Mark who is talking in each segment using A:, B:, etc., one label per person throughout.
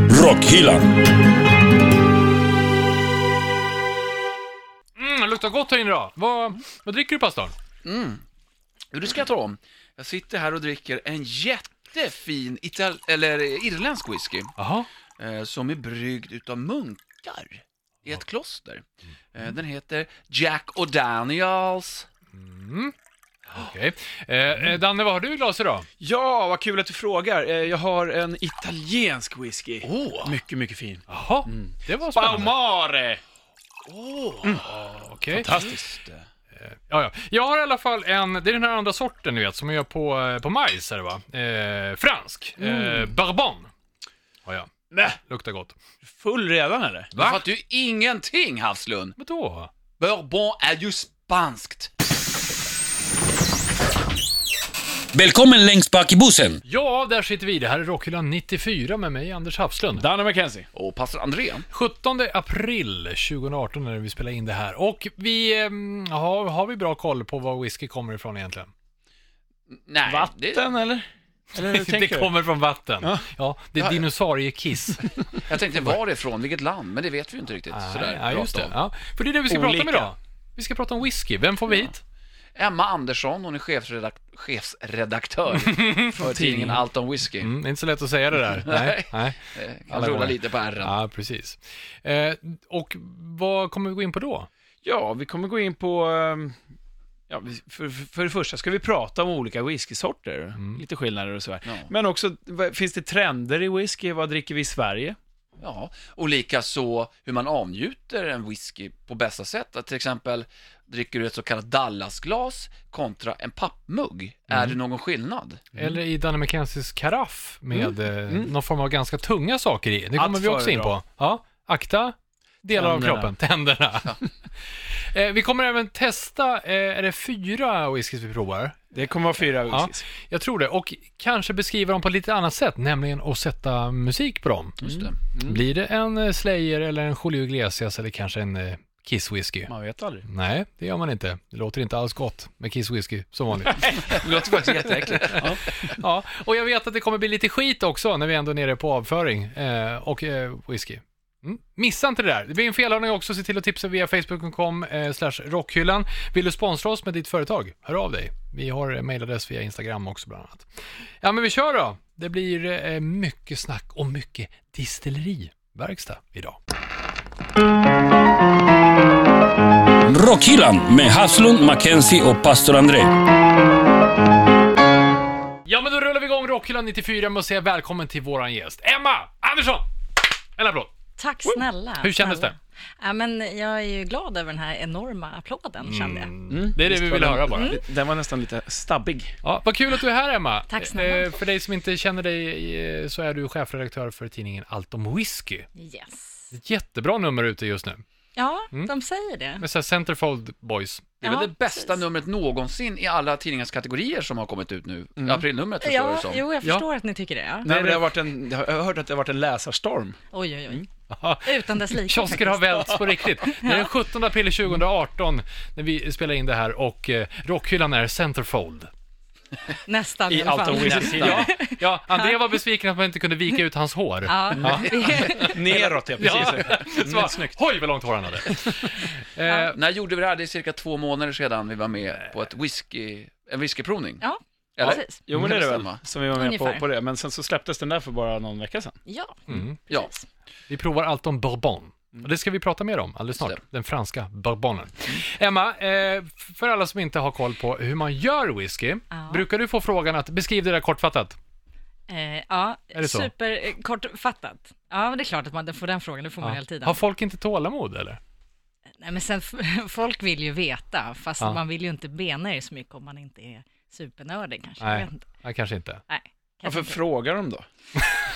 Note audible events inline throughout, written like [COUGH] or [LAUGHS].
A: Rockhyllan.
B: Mm, det luktar gott här inne idag. Vad, vad dricker du pastorn?
C: Jo, det ska jag ta om. Jag sitter här och dricker en jättefin ital- eller eh, irländsk whisky
B: Jaha.
C: eh, som är bryggd utav munkar i ett kloster. Eh,
D: Mm.
C: den heter Jack O'Daniels.
B: Okej. Eh, eh, Danne, vad har du i glas idag?
D: Ja, vad kul att du frågar. Eh, Jag har en italiensk whisky.
C: Åh.
D: Mycket, mycket fin.
B: Jaha, det var spännande.
D: Baumare!
B: Mm. Okej.
C: Fantastiskt.
B: Ja, ja. Jag har i alla fall en, det är den här andra sorten du vet, som jag gör på, eh, på majs är det va? Eh, fransk. Eh, bourbon. Har jag.
D: Nä,
B: Luktar gott.
D: full redan eller?
C: Du fattar ju ingenting, Havslund.
B: Vadå?
C: Bourbon är ju spanskt.
A: Välkommen längst bak i bussen.
B: Ja, där sitter vi. Det här är Rockhyllan 94 med mig, Anders Hafslund.
D: Danne McKenzie.
C: Och pastor André.
B: 17 april 2018 när vi spelar in det här. Och vi, ehm, har, har vi bra koll på var whisky kommer ifrån egentligen?
C: Nej,
D: Vatten eller? Eller
B: [LAUGHS]
D: hur
B: Det
D: tänker du?
B: kommer från vatten. Ja, det är
C: Ja, ja.
D: [LAUGHS]
B: dinosauriekiss.
C: Det, jag tänkte varifrån, vilket land, men det vet vi ju inte riktigt. Sådär,
B: ja, just
C: rakt
B: det.
C: av.
B: Ja. För det är det vi ska prata
D: Olika.
B: om idag. Vi ska prata om whisky. Vem får vi hit?
C: Emma Andersson, hon är chefsredak-
D: [LAUGHS]
C: chefsredaktör för tidningen Allt om whisky.
B: Mm, det är inte så lätt att säga det
D: [LAUGHS]
B: där. Nej. nej.
C: Eh, Kan
B: Alla
C: rulla
B: gånger.
C: lite på ärren.
B: Ja, precis. Eh, och vad kommer vi gå in på då?
D: Ja, vi kommer gå in på... ehm, Ja, vi- för, för för det första ska vi prata om olika whiskysorter, lite skillnader och sådär.
C: Ja.
D: Men också, vad- finns det trender i whisky? Vad dricker vi i Sverige?
C: Ja, och lika så hur man avnjuter en whisky på bästa sätt. Att till exempel dricker du ett så kallat Dallasglas kontra en pappmugg. Är det någon skillnad?
B: Eller i Danny McKenzies karaff med eh, någon form av ganska tunga saker i. Det kommer
D: Att
B: vi också in
D: föredra.
B: på. Ja, akta delar av
D: Tänderna.
B: kroppen, tänderna. [LAUGHS] eh, vi kommer även testa, eh, är det fyra whiskys vi provar?
D: Det kommer vara fyra
B: Ja,
D: whiskys.
B: jag tror det. Och kanske beskriva dem på lite annat sätt, nämligen att sätta musik på dem. Mm.
C: Just det.
B: Blir det en eh, Slayer eller en Julio Iglesias eller kanske en eh, Kiss Whisky?
D: Man vet aldrig.
B: Nej, det gör man inte. Det låter inte alls gott med Kiss Whisky, som vanligt.
C: Det låter faktiskt jätteäckligt.
B: ja, och jag vet att det kommer bli lite skit också när vi ändå är nere på avföring eh, och eh, whisky. Mm. Missa inte det där. Det blir en felhörning också. Se till att tipsa via facebook.com eh, slash rockhyllan. Vill du sponsra oss med ditt företag? Hör av dig. Vi har eh, mailadress via Instagram också bland annat. Ja, men vi kör då. Det blir eh, mycket snack och mycket distilleriverkstad idag.
A: Rockhyllan med Havslund, Mackenzie och pastor André.
B: Ja, men då rullar vi igång Rockhyllan 94 med att säga välkommen till våran gäst, Emma Andersson! En applåd!
E: Tack snälla.
B: Hur kändes
E: snälla.
B: det?
E: Ja, men jag är ju glad över den här enorma applåden,
B: Mm.
E: kände jag.
B: Det är det vi vill höra bara.
D: Den var Mm. nästan lite stabbig.
B: Ja, vad kul att du är här Emma.
E: Tack snälla.
B: Eh, För dig som inte känner dig eh, så är du chefredaktör för tidningen Allt om whisky.
E: Yes.
B: Ett jättebra nummer ute just nu.
E: Ja,
B: Mm.
E: de säger det.
B: Med så här Centerfold Boys.
C: Det är väl
E: Ja,
C: det bästa
E: precis.
C: numret någonsin i alla tidningars kategorier som har kommit ut nu. Aprilnumret förstår jag det
E: Ja,
C: som.
E: jo, jag
B: Ja.
E: förstår att ni tycker det. Ja.
D: Nej, men det har varit en, jag har hört att det har varit en läsarstorm.
E: Oj, oj, oj. Utan dess like.
B: Mm. Kiosker har
E: faktiskt.
B: välts på
E: [LAUGHS]
B: riktigt. Det är den 17 april 2018 när vi spelar in det här och eh, Rockhyllan är Centerfold.
E: Nästan
D: I
E: alla
D: allt om
E: fall.
D: whisky.
B: Ja, ja, André var besviken att man inte kunde vika ut hans hår.
E: Ja,
D: Neråt, ja,
B: [LAUGHS]
D: precis.
B: Så bara, Oj, vad långt hår han hade. Eh,
C: När gjorde vi det här? Det är cirka två månader sedan vi var med på ett whisky, en whiskyprovning.
E: [LAUGHS] ja.
C: Eller?
E: precis.
D: Jo, men det är det väl,
C: Stämma.
D: som vi var med på,
E: Ungefär.
D: på det. Men sen så släpptes den där för bara någon vecka sedan.
E: Ja.
B: Mm.
C: Ja.
B: Vi provar allt om bourbon.
E: Mm.
B: Och det ska vi prata mer om alldeles snart.
C: Just
B: Den franska bourbonen.
E: Mm.
B: Emma, eh, för alla som inte har koll på hur man gör whisky,
E: Ja.
B: brukar du få frågan att beskriv det där kortfattat?
E: Eh, ja,
B: det så?
E: superkortfattat. Ja, men det är klart att man får den frågan, det får man hela tiden.
B: Har folk inte tålamod eller?
E: Nej, men sen, [LAUGHS] folk vill ju veta, fast
B: Ja.
E: man vill ju inte bena er så mycket om man inte är supernördig kanske. Jag
B: Nej,
E: vet inte.
B: Nej kanske inte.
E: Nej.
D: Varför
E: kanske
D: frågar de då?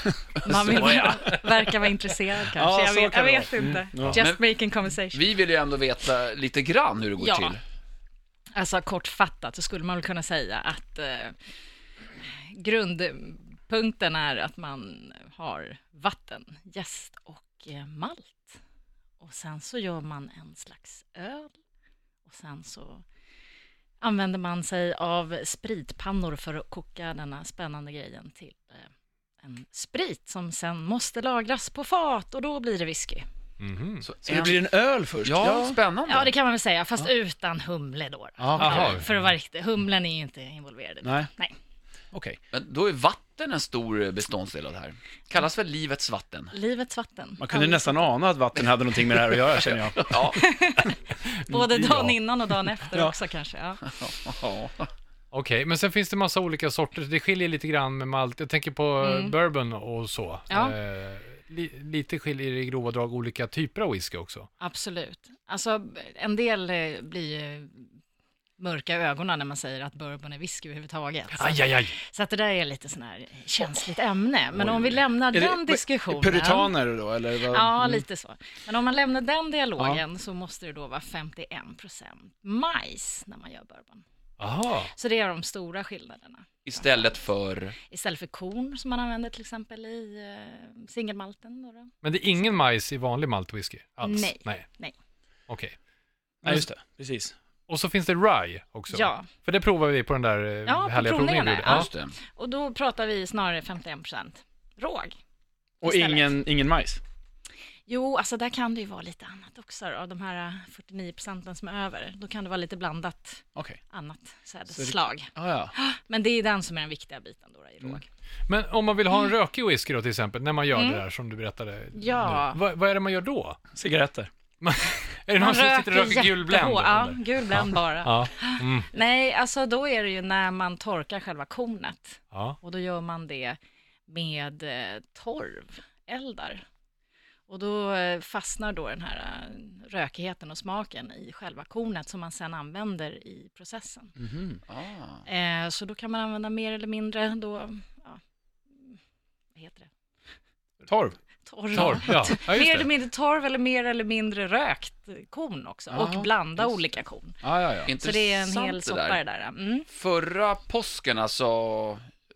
E: inte. Man vill [LAUGHS] verka vara intresserad kanske.
D: Ja,
E: jag
D: så
E: vet,
D: kan
E: jag
D: det Mm.
E: vet inte. Just making conversation.
C: Vi vill ju ändå veta lite grann hur det går
E: Ja.
C: till.
E: Alltså kortfattat så skulle man väl kunna säga att eh, grundpunkten är att man har vatten, jäst och eh, malt. Och sen så gör man en slags öl. Och sen så använder man sig av spritpannor för att koka denna spännande grejen till eh, en sprit som sen måste lagras på fat och då blir det whisky.
B: Mhm.
C: Så,
D: Så det blir en öl först?
C: Ja, spännande.
E: Ja, det kan man väl säga, fast utan humle då. då.
D: Ja, okej.
B: Jaha.
E: För att vara riktig, humlen är ju inte involverad i det.
D: Nej.
E: Nej.
D: Okej.
C: Men då är vatten en stor beståndsdel av det här. Kallas väl livets vatten?
E: Livets vatten.
D: Man kunde nästan ana att vatten hade någonting med det här att göra, känner jag.
C: Ja.
E: Både
B: Ja.
E: dagen innan
D: [LAUGHS]
E: och dagen efter
D: Ja.
E: också kanske. Ja.
C: ja.
B: Okej, men sen finns det massa olika sorter. Det skiljer lite grann med malt. Jag tänker på eh, bourbon och så.
E: Mm. Ja.
B: Eh, li, lite skiljer det i grova drag olika typer av whisky också.
E: Absolut. Alltså, en del eh, blir ju mörka i ögonen när man säger att bourbon är whisky överhuvudtaget. Så,
B: Aj, aj, aj.
E: så att det där är lite sån här känsligt ämne. Men om vi lämnar
D: Är det- Mm.
E: den diskussionen.
D: Puritaner då, eller? Vad?
E: Ja, lite så. Men om man lämnar den dialogen så måste det då vara 51 procent majs när man gör bourbon.
B: Aha.
E: Så det är de stora skillnaderna.
C: Istället för...
E: Istället för korn som man använder till exempel i eh, singelmalten. Då då.
B: Men det är ingen majs i vanlig maltwhisky alls?
E: Nej.
B: Nej.
E: Nej.
B: Okej.
D: Nej, just det. Precis.
B: Och så finns det rye också?
E: Ja.
B: För det provar vi på den där eh,
E: Ja, på
B: härliga provningen
E: provningarna,
B: vi gjorde.
E: ja.
C: Just det.
E: Och då pratar vi snarare 51 procent råg.
D: Och
E: Istället.
D: ingen, ingen majs?
E: Jo, alltså där kan det ju vara lite annat också. Av de här eh, 49 procenten som är över, då kan det vara lite blandat
D: Okej.
E: annat
D: Så det-
E: sädesslag.
D: Ah, ja.
E: Men det är den som är den viktiga biten då,
B: Mm.
E: då i råg.
B: Men om man vill ha
E: Mm.
B: en rökig whisky då till exempel, när man gör det där som du berättade.
E: Ja.
B: nu, Vad, vad är det man gör då? [LAUGHS]
D: Cigaretter.
B: Är det någon som sitter och röker gul Blend?
E: jättehårt. Ja,
B: eller?
E: gul blend bara.
B: Ja. Mm.
E: Nej, alltså då är det ju när man torkar själva kornet
B: ja.
E: och då gör man det med eh, torveldar. Och då eh, fastnar då den här eh, rökigheten och smaken i själva kornet som man sen använder i processen.
C: Ah.
E: Eh, så då kan man använda mer eller mindre då, ja, vad heter det?
D: Torv.
E: Torv.
B: Torv, ja. Ja, just
E: mer
B: det.
E: eller mindre torv eller mer eller mindre rökt eh, korn också.
D: Ja,
E: och blanda
D: just det.
E: olika korn.
D: Ah, ja, ja.
E: Så
C: Intressant
E: det är en hel soppa
C: där.
E: det där. Mm.
C: Förra påsken, alltså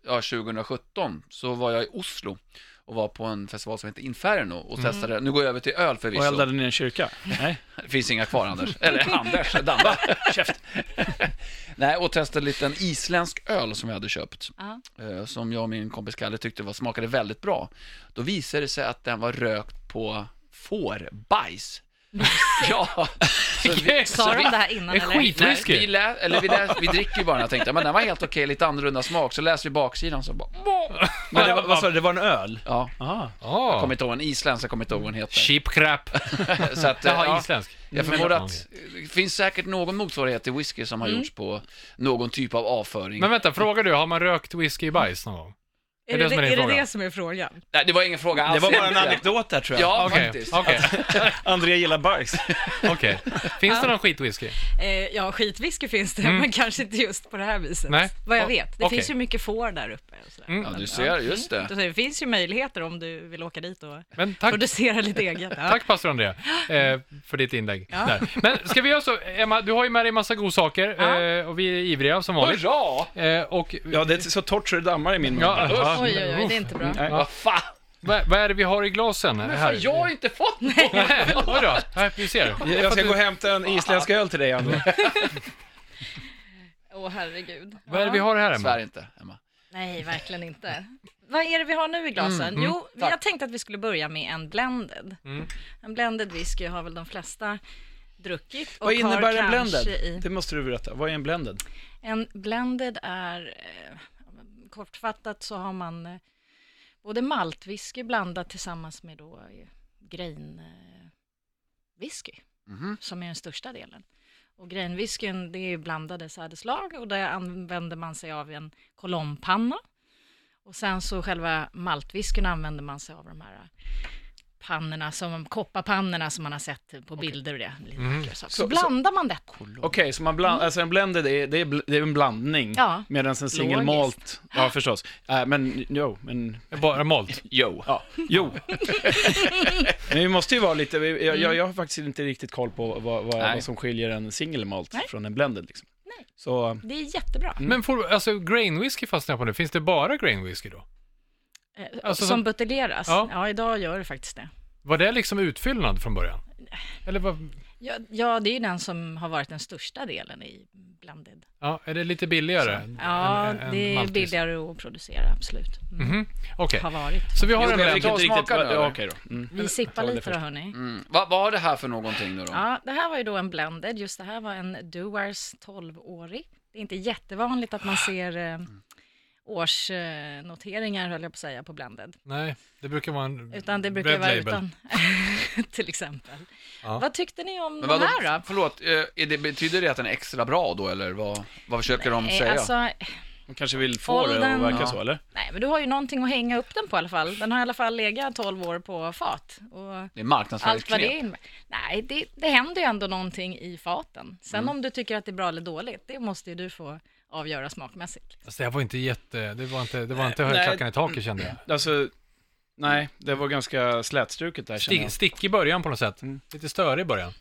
C: ja, 2017, så var jag i Oslo och var på en festival som heter Inferno och
E: Mm.
C: testade, nu går jag över till öl förvisso.
D: Och eldade ner en kyrka?
E: [LAUGHS]
D: Nej.
C: Det finns inga kvar Anders. Eller Anders, Danva, käft. Nej, och testade lite en isländsk öl som jag hade köpt.
E: Ja.
C: eh, Som jag och min kompis Kalle tyckte var, smakade väldigt bra. Då visade det sig att den var rökt på fårbajs. ja, så vi,
E: Sa de det här innan
B: Det är
E: eller?
B: skit.
C: Nej,
B: Whisky?
C: vi, lä- eller vi, lä- vi dricker ju bara den här, tänkte jag, men den var helt okej, lite annorlunda smak, så läser vi baksidan så bara,
D: Men det var, vad sa du, det var en öl?
C: ja,
D: Ah.
B: Ah.
C: kommer inte ihåg en isländsk, jag kommer inte ihåg vad den heter.
B: Cheap crap.
C: [LAUGHS] Så att, eh,
B: Jaha,
C: ja,
B: isländsk. Mm.
C: jag förmodar att det finns säkert någon motsvarighet till whisky som har gjorts på någon typ av avföring.
B: Men vänta, frågar du, har man rökt whisky i bajs någon gång?
E: Är
B: det
E: det
B: som är din
E: det, är det,
B: fråga?
E: det som är frågan?
C: Nej, det var ingen fråga alls.
D: Det var bara en
C: egentligen.
D: anekdot där, tror jag.
C: Ja,
B: Okej,
C: faktiskt.
B: okej,
D: André gillar bajs.
B: okej. Finns det någon skitwhisky?
E: Eh, ja, skitwhisky finns det, men kanske inte just på det här viset.
B: Mm. Nej.
E: Vad jag
B: O-
E: vet. Det
B: okej.
E: finns ju mycket får där uppe. Och sådär.
B: Mm.
C: Ja, du ser, just det.
E: Så det finns ju möjligheter om du vill åka dit och
B: Men tack,
E: producera
B: [LAUGHS]
E: lite eget. Ja.
B: tack pastor André, eh, för ditt inlägg. Där. Men ska vi göra så, Emma, du har ju med dig massa godsaker
E: Ja.
B: eh, och vi är ivriga som vanligt.
C: Hurra!
B: Eh, och,
D: Ja, det är så torrt så det dammar i min mun.
B: Ja, ja.
E: Oj, oj, oj, det är inte bra.
B: Mm.
D: Nej.
C: Vad fan,
B: Vad, vad är det vi har i glasen?
C: varför har jag inte fått något?
B: [LAUGHS] Nej, oj då. Nej, vi ser.
D: Jag- Jag ska gå och hämta en isländsk öl till dig, André.
E: Åh, herregud.
B: Vad är det vi har här Emma?
C: Svär inte, Emma.
E: Nej, verkligen inte. Vad är det vi har nu i glasen?
B: Mm,
E: jo, vi har tänkt att vi skulle börja med en blended. En blended whisky har väl de flesta druckit och
D: Vad innebär
E: har
D: en blended?
E: kanske i...
D: Det måste du berätta. Vad är en blended?
E: En blended är, eh, kortfattat så har man eh, både maltwhisky blandat tillsammans med då eh, grain, eh, whisky
C: Mhm.
E: som är den största delen. Och grainwhiskyn det är ju blandade sädeslag och där använder man sig av en kolompanna. Och sen så själva maltwhiskyn använder man sig av de här eh, pannorna, som kopparpannorna som man har sett på bilder och det. Lite vackra saker. Mhm. Så,
D: Så-
E: blandar man detta.
D: Okej, så man bland, alltså en blended är, det är, bl- det är en blandning,
E: Mm. Ja.
D: medan en single
E: Logiskt.
D: malt, ja förstås. Äh, men jo, men
B: Bara malt.
C: Jo.
D: ja, [LAUGHS] jo. men vi måste ju vara lite, vi- jag, jag, jag har faktiskt inte riktigt koll på vad, vad,
C: Nej.
D: vad som skiljer en single malt
E: Nej.
D: från en blended. Liksom.
E: Nej.
D: Så,
E: Det är jättebra.
D: Mm.
B: Men får, alltså grain whisky fastnar jag på nu. Finns det bara grain whisky då?
E: Eh,
B: Alltså
E: som
B: som-
E: buteljeras.
B: Ja.
E: Ja. idag gör det faktiskt det.
B: Var det liksom utfyllnad från början? Eller vad?
E: Ja, ja, det är ju den som har varit den största delen i blended.
B: Ja, är det lite billigare? än-
E: Ja,
B: än- än
E: det är
B: maltwhisky?
E: billigare att producera, absolut. Mm.
B: Mhm, Okej,
E: Har varit.
B: så vi har
D: Jo,
B: en
D: men jag
B: blend.
D: fick inte riktigt...
C: smaka nu,
D: Ja,
C: eller?
D: okej då. Mm.
E: Vi sippar
D: det
E: lite då,
D: först.
E: hörni.
C: Mm. Vad vad var det här för någonting nu då?
E: Ja, det här var ju då en blended. Just det här var en Doers 12-årig. Det är inte jättevanligt att
B: Ah.
E: man ser eh,
B: Mm.
E: årsnoteringar, höll jag på att säga, på blended.
B: Nej, det brukar vara en
E: Utan det brukar
B: Mm. red
E: vara
B: label.
E: utan, [LAUGHS] till exempel.
B: Ja.
E: Vad tyckte ni om
C: Men
E: de
C: vadå,
E: här då?
C: förlåt, eh, är det, betyder det att den är extra bra då eller vad, vad försöker de
E: Eh,
C: säga?
E: Alltså,
D: Man kanske vill få det
E: Åldern-
D: att verka
C: Ja.
D: så, eller?
E: nej, men du har ju någonting att hänga upp den på i alla fall. Den har i alla fall legat 12 år på fat. Och
C: det är
E: allt vad det
C: marknadsföringsknep.
E: innebär. Nej, det, det händer ju ändå någonting i faten. Sen
B: Mm.
E: om du tycker att det är bra eller dåligt, det måste ju du få avgöra smakmässigt.
B: Alltså, det här var inte jätte... Det var inte, det var inte
D: Nej,
B: höga
D: nej.
B: klackarna i taket kände jag.
D: Alltså, nej, det var ganska slätstruket där känner
B: Stick,
D: jag.
B: stick i början på något sätt.
D: Mm.
B: Lite större i början. Sen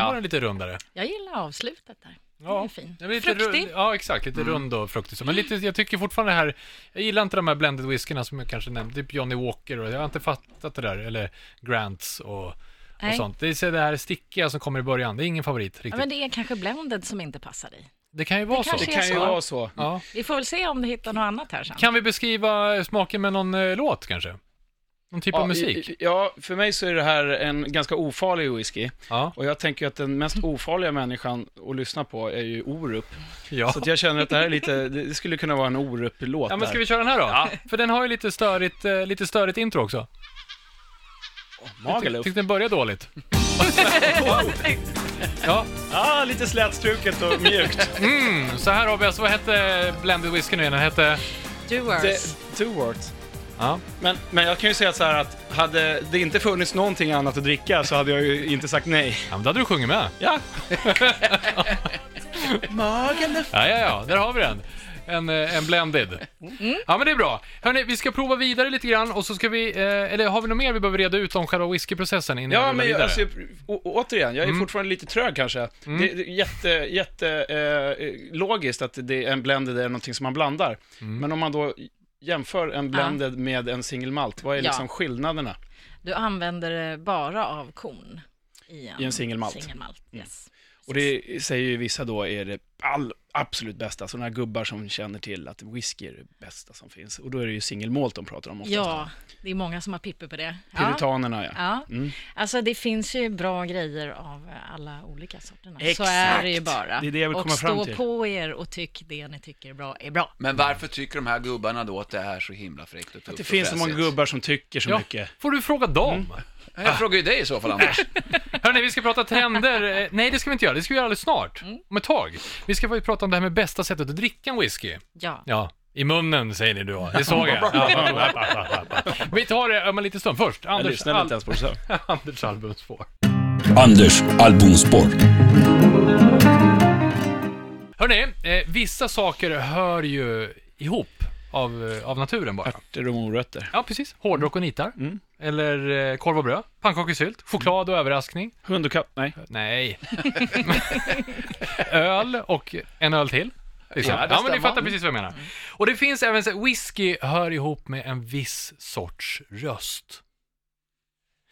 C: Ja.
B: var den lite rundare.
E: Jag gillar avslutet där. Den är fin.
B: den var lite
E: Fruktig.
B: Rund, ja, exakt. Lite
D: Mm.
B: rund och fruktig. så. Men lite, jag tycker fortfarande det här... Jag gillar inte de här blended whiskyna som jag kanske nämnde. Typ Johnny Walker och jag har inte fattat det där. Eller Grants och, och
E: Nej.
B: sånt. Det är så det här stickiga som kommer i början. Det är ingen favorit riktigt.
E: Ja, men det är kanske blended som inte passar dig.
B: det kan ju vara så.
E: kanske
D: Det
E: är
D: kan ju
E: så.
D: vara så.
B: Ja.
E: Vi får väl se om du hittar något annat här sen.
B: Kan vi beskriva smaken med någon eh, låt kanske? Någon typ
D: Ja,
B: av musik?
D: i- i- Ja, för mig så är det här en ganska ofarlig whisky.
B: Ja.
D: Och jag tänker ju att den mest
E: Mm.
D: ofarliga människan att lyssna på är ju Orup.
B: ja.
D: [LAUGHS] Så att jag känner att det här är lite, det skulle kunna vara en Orup-låt
B: Ja, men ska
D: där.
B: vi köra den här då? För den har ju lite störigt, eh, lite störigt intro också.
D: Magaluf.
B: Tyckte den började
D: [LAUGHS]
B: dåligt. ja,
D: Ah, lite slätstruket [LAUGHS] och mjukt.
B: mm, så här har vi alltså, vad hette blended whisky nu igen? Den hette...
E: Doers.
D: Det, two words.
B: Ja.
D: Men, men jag kan ju säga så här att hade det inte funnits någonting annat att dricka så hade jag ju inte sagt nej.
B: ja, men då hade du sjungit med.
D: Ja,
B: Ja, ja, ja, där har vi den. En, eh, en blended. Ja, men det är bra. Hörni, vi ska prova vidare lite grann och så ska vi, eh, eller har vi något mer vi behöver reda ut om själva whiskyprocessen innan vi
D: ja
B: rullar
D: men jag,
B: vidare?
D: alltså, å, återigen, jag är fortfarande lite trög kanske. Det är jätte, jätte eh, logiskt att det är en blended är någonting som man blandar. Men om man då jämför en blended med en single malt, vad är
E: Ja.
D: liksom skillnaderna?
E: Du använder det bara av korn i en,
D: I en singelmalt.
E: singelmalt, Yes.
D: Och det säger ju vissa då är det all, absolut bästa, sådana här gubbar som känner till att whisky är det bästa som finns. Och då är det ju single malt de pratar
B: Mm.
D: om oftast.
E: Ja, det är många som har pipper på det. Ja.
D: Puritanerna ja.
E: Ja,
D: Mm.
E: alltså det finns ju bra grejer av eh, alla olika sorterna. Så
D: Exakt.
E: är det ju bara.
D: Det är det jag vill
E: och
D: komma fram till.
E: stå på er och tyck det ni tycker är bra är bra.
C: Men varför tycker de här gubbarna då att det är så himla fräckt och
D: Att
C: tufft
D: det
C: och
D: finns så många
C: fräsigt?
D: gubbar som tycker så
B: Ja,
D: mycket. Mm.
B: får du fråga dem.
C: Jag frågar ju dig i så fall
D: [LAUGHS]
C: Anders.
B: Hörni, vi ska prata trender. Eh, Nej, det ska vi inte göra. Det ska vi göra alldeles snart. Om ett tag. Vi ska faktiskt prata om det här med bästa sättet att dricka en whisky.
E: Ja.
B: Ja, i munnen säger ni då. Det såg jag. Ja. vi tar det om en liten stund. Först,
D: Jag
B: Anders,
D: lyssnade
B: Al- [LAUGHS]
D: inte ens på det så.
B: Anders albumspår.
A: Anders albumspår.
B: Hörni, eh, vissa saker hör ju ihop av, eh, av naturen bara.
D: Ärtor och morötter.
B: Ja, precis. Hårdrock och nitar. Eller eh, korv och bröd, pannkakor och sylt, choklad och överraskning.
D: Hund och katt, nej.
B: Nej. [LAUGHS] öl och en öl till. Liksom.
C: Ja,
B: Ja, men ni
C: det stämmer. Mm.
B: fattar precis vad jag menar. Och det finns även så här, whisky hör ihop med en viss sorts röst.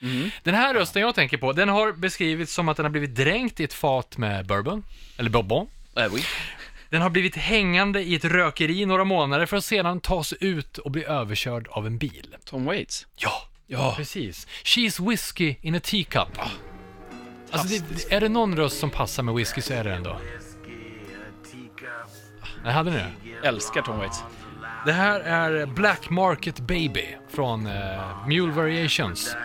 C: Mm.
B: Den här rösten jag tänker på, den har beskrivits som att den har blivit dränkt i ett fat med bourbon, eller bourbon.
C: Eh, oui.
B: Den har blivit hängande i ett rökeri i några månader för att sedan ta sig ut och bli överkörd av en bil.
D: Tom Waits.
B: Ja, Ah.
D: Ja.
B: precis. She's whiskey in a teacup. Alltså, det, är det någon röst som passar med whisky så är det den då. Ah, Nej, hade ni det?
D: Älskar Tom Waits.
B: Det här är Black Market Baby från eh, Mule Variations.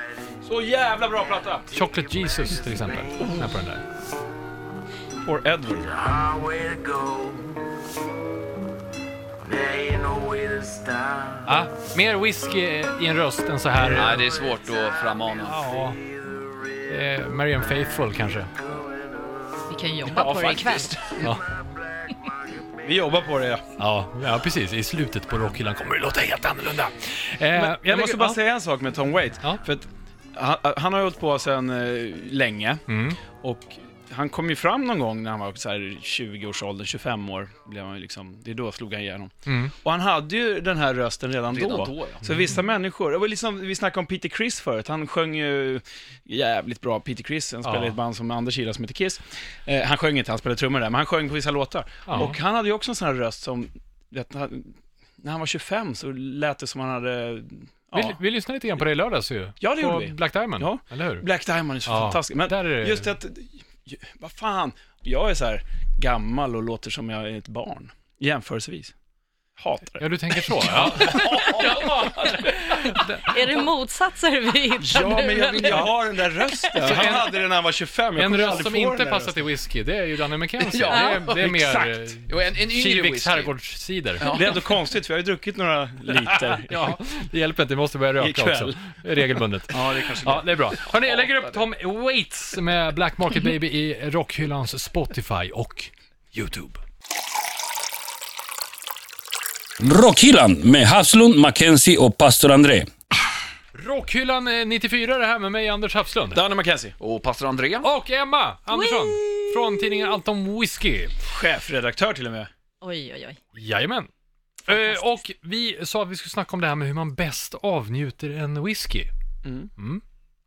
D: Så jävla bra platta!
B: Chocolate Jesus till exempel. Den här på den där.
D: Or Edward.
F: highway to go. There ain't no way to stop.
B: Ah, mer whisky i en röst än så här.
C: Nej, det är svårt att frammana.
B: Ja. Eh, Marian Faithful kanske.
E: Vi kan ju jobba på det ikväll.
B: Ja.
D: Vi jobbar på det ja.
B: Ja, ja, precis. I slutet på Rockhyllan kommer det låta helt annorlunda. Eh,
D: Men jag måste
B: lägger-
D: bara
B: ja.
D: säga en sak med Tom Waits.
B: Ja. Mm.
D: För att han, han har hållit på sedan eh, länge. Och han kom ju fram någon gång när han var så här 20-årsåldern, 25 år blev han ju liksom, det är då slog han igenom.
B: Mm.
D: Och han hade ju den här rösten redan,
C: Redan
D: då.
C: då, ja.
D: Så vissa människor, det var liksom, vi snackade om Peter Criss förut, han sjöng ju jävligt bra, Peter Criss, han spelade i
B: Ja.
D: ett band som Anders gillar som heter Kiss. Eh, han sjöng inte, han spelade trummor där, men han sjöng på vissa låtar.
B: Ja.
D: Och han hade ju också en sån här röst som, vet, han- när han var 25 så lät det som han hade, ja.
B: Vi, vi lyssnade lite grann på det i lördags ju.
D: Ja, det
B: på
D: gjorde vi.
B: Black Diamond,
D: Ja.
B: eller hur?
D: Black Diamond är så
B: Ja,
D: fantastisk, men
B: där är det-
D: just att, ju- vad fan, jag är så här gammal och låter som jag är ett barn, jämförelsevis. Hatar det.
B: Ja, du tänker så. Ja.
E: Är det motsatser vi hittar
D: Ja,
E: nu?
D: men jag vill ju
E: eller?
D: ha den där rösten.
B: Så
D: Han
B: en-
D: hade den när han var 25. Jag
B: En
D: kommer
B: röst
D: aldrig
B: som
D: få den
B: inte
D: där
B: passar
D: rösten.
B: till whisky, det är ju Danny McKenzie.
C: Ja,
B: det, är, det är mer
D: exakt.
C: Jo, en, en
B: eh,
C: yngre
B: Kiviks
C: whisky.
B: herrgårdscider.
C: Ja.
D: Det är ändå konstigt, för jag har ju druckit några [LAUGHS] liter.
B: Ja, det hjälper inte, vi måste börja röka
D: Ikväll.
B: också. Regelbundet.
C: Ja, det är kanske
B: Ja, det är bra. Hörrni, jag lägger upp
C: Hatar
B: Tom Waits med Black Market
D: Mhm.
B: Baby i rockhyllans Spotify och YouTube.
A: Rockhyllan med Haslund, Mackenzie och pastor André.
B: Rockhyllan eh, 94 är det här med mig, Anders Hafslund.
D: Danny McKenzie,
C: Och pastor André.
B: Och Emma Andersson från tidningen Allt om Whisky.
D: chefredaktör till och med.
E: Oj, oj, oj.
B: Jajamän. Eh, och vi sa att vi skulle snacka om det här med hur man bäst avnjuter en whisky.
D: Mm.
B: Mm.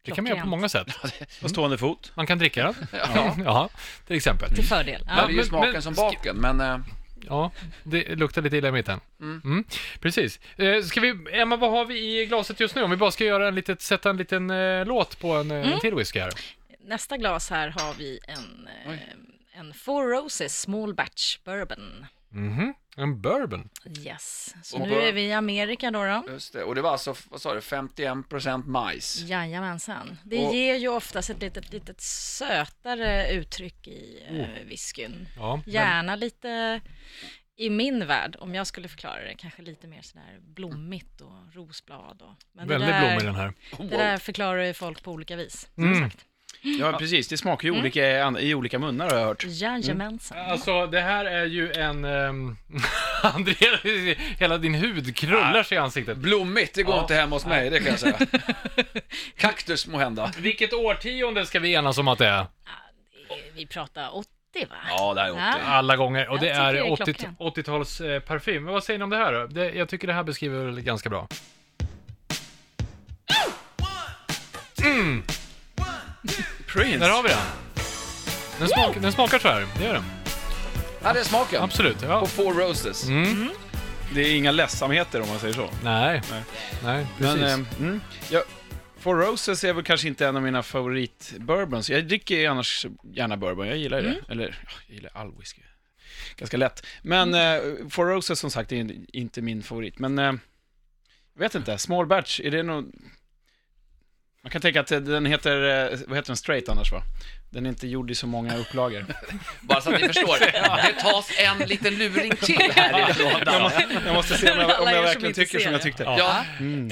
B: Det kan man göra på
E: Klockrent.
B: många sätt.
D: På stående fot.
B: Man kan dricka den,
C: Ja.
B: ja, till exempel.
E: Till fördel.
D: Mm.
C: Ja,
E: Ja.
C: det är ju
B: men-
C: smaken
B: men-
C: som baken, men... eh,
B: Ja, det luktar lite illa i mitten. Mm. Precis. Eh, ska vi, Emma, vad har vi i glaset just nu? Om vi bara ska göra en litet, sätta en liten eh, låt på en, eh, en till whisky här.
E: Nästa glas här har vi en, eh, en Four Roses Small Batch Bourbon.
B: Mhm. En bourbon.
E: Yes. Så
C: Och
E: nu
C: bör-
E: är vi i Amerika då. då.
C: Just det, och det var alltså, vad sa du, 51% majs.
E: Jajamensan. Det
C: Och-
E: ger ju oftast ett litet, litet sötare uttryck i oh. whiskyn.
B: Ja, men,
E: Gärna lite, i min värld, om jag skulle förklara det, kanske lite mer sådär blommigt och rosblad. Och, men
B: väldigt
E: det där,
B: blommig den här. Mm.
E: Det där förklarar ju folk på olika vis. Som sagt.
D: Ja, precis. Det smakar ju olika i olika munnar har jag hört.
E: Jajamensan.
B: Alltså, det här är ju en... ehm, [LAUGHS] André, hela din hud krullar sig i ansiktet.
C: Blommigt, det går
B: Ja.
C: inte hem hos mig, det kan jag säga.
D: [LAUGHS]
C: Kaktus må hända.
B: Vilket årtionde ska vi enas om att det är?
E: Vi pratar 80 va?
C: Ja, det här är 80.
B: Alla gånger. Och
E: Jag
B: det
E: tycker
B: är
E: det är
B: 80
E: klockrent.
B: 80-tals eh, parfym. Men vad säger ni om det här då? Det, jag tycker det här beskriver väl ganska bra. Där
D: Prince.
B: har vi den. Den, smak, den smakar så här. Det gör den.
C: Ja, det är smaken.
B: Absolut. Ja.
C: På Four Roses.
B: Mm.
D: Det är inga ledsamheter om man säger så.
B: Nej.
D: Nej.
B: Nej, precis.
D: Men, eh, mm, ja, Four Roses är väl kanske inte en av mina favoritbourbons. Jag dricker ju annars gärna bourbon, jag gillar ju det. Eller, ja, jag gillar all whisky. Ganska lätt. Men eh, Four Roses som sagt är in- inte min favorit. Men, eh, jag vet inte, Small Batch, är det nog... Man kan tänka att eh, den heter, eh, vad heter den, straight annars va? Den är inte gjord i så många upplagor.
C: Bara så att
B: [LAUGHS]
C: ni förstår. Det tas en liten luring till härifrån.
D: jag, måste, jag måste se om [LAUGHS] jag, om
E: Alla
D: jag
E: er som
D: verkligen
E: inte
D: tycker
E: ser
D: som jag
E: det.
D: tyckte.
C: Ja,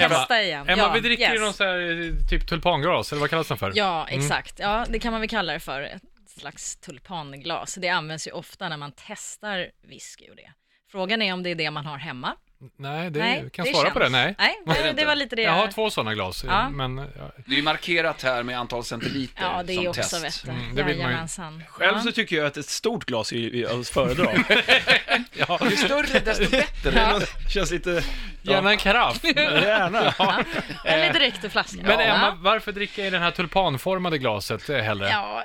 E: Testa igen.
B: Emma,
E: ja,
B: vi dricker ju
E: yes.
B: någon Mm. sån här eh, typ tulpangras, eller vad kallas den för?
E: Ja, exakt. Ja, det kan man väl kalla det för. Ett slags tulpanglas. Det används ju ofta när man testar whisky och det. Frågan är om det är det man har hemma.
B: Nej, det
E: Nej,
B: kan
E: det
B: svara på det.
E: känns.
B: Nej.
E: Nej, det, det var lite det
B: Jag har två sådana glas, eh,
E: Ja.
B: men ja,
C: det är ju markerat här med antal centiliter
E: Ja, det är
C: som
E: också
C: test.
E: vet du.
B: Mm, det vill man ju.
E: Jajamensan.
D: Själv
E: Ja.
D: så tycker jag att ett stort glas är ju är att föredra. [LAUGHS]
C: Ju
E: [LAUGHS]
C: större desto bättre.
D: Det är något- känns lite...
B: gärna en
E: [LAUGHS]
B: karaff.
D: Gärna.
E: Eller direkt ur flaskan.
B: Men
E: Ja.
B: Emma, varför dricker jag i det här tulpanformade glaset eh, hellre?
E: Ja,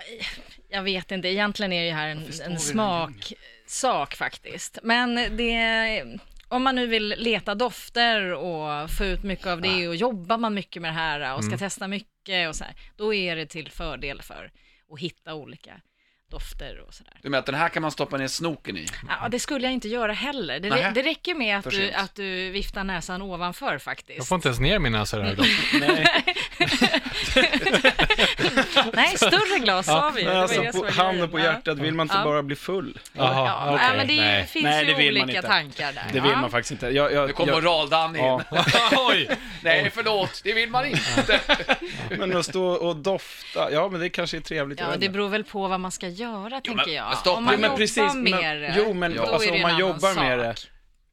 E: jag vet inte. Egentligen är det ju här en, en smaksak faktiskt. Men det, om man nu vill leta dofter och få ut mycket av
D: Ah.
E: det och jobbar man mycket med det här och ska
D: Mm.
E: testa mycket och så här, då är det till fördel för att hitta olika dofter och sådär.
C: Du menar att den här kan man stoppa ner snoken i?
E: Ja, det skulle jag inte göra heller. Det,
C: Nähä.
E: det räcker med att du,
C: sent.
E: att du viftar näsan ovanför
B: Jag
E: faktiskt.
B: får inte ens ner min näsa i det här glaset.
E: Nej, större glas sa vi ju. Det
D: Men
E: var
D: alltså,
E: det som
D: på,
E: var
D: handen
E: grejen.
D: på
E: Ja.
D: hjärtat, vill man inte
E: Ja.
D: bara bli full?
B: Jaha,
E: Ja,
B: okej.
E: men det är ju-
B: Nej.
E: finns
D: Nej, det
E: ju
D: vill man
E: olika
D: inte.
E: tankar där.
D: Det vill
E: ja.
D: man faktiskt inte. Jag, jag,
C: Nu kommer
D: jag,
C: moraldanny in.
D: ja.
B: [LAUGHS] Oj!
C: Nej, förlåt, det vill man inte.
D: [LAUGHS] Men att stå och dofta, ja men det kanske är trevligt. jag
E: Ja,
D: vet
E: det
D: inte.
E: beror väl på vad man ska göra, tänker
C: men- men
E: jag.
C: stopp
E: om
C: nu.
E: man
D: Jo, men
E: jobbar
D: precis,
E: med
D: men,
E: det,
D: jo, men
E: då är
D: alltså,
E: det
D: om
E: en
D: man
E: annan
D: jobbar med
E: sak.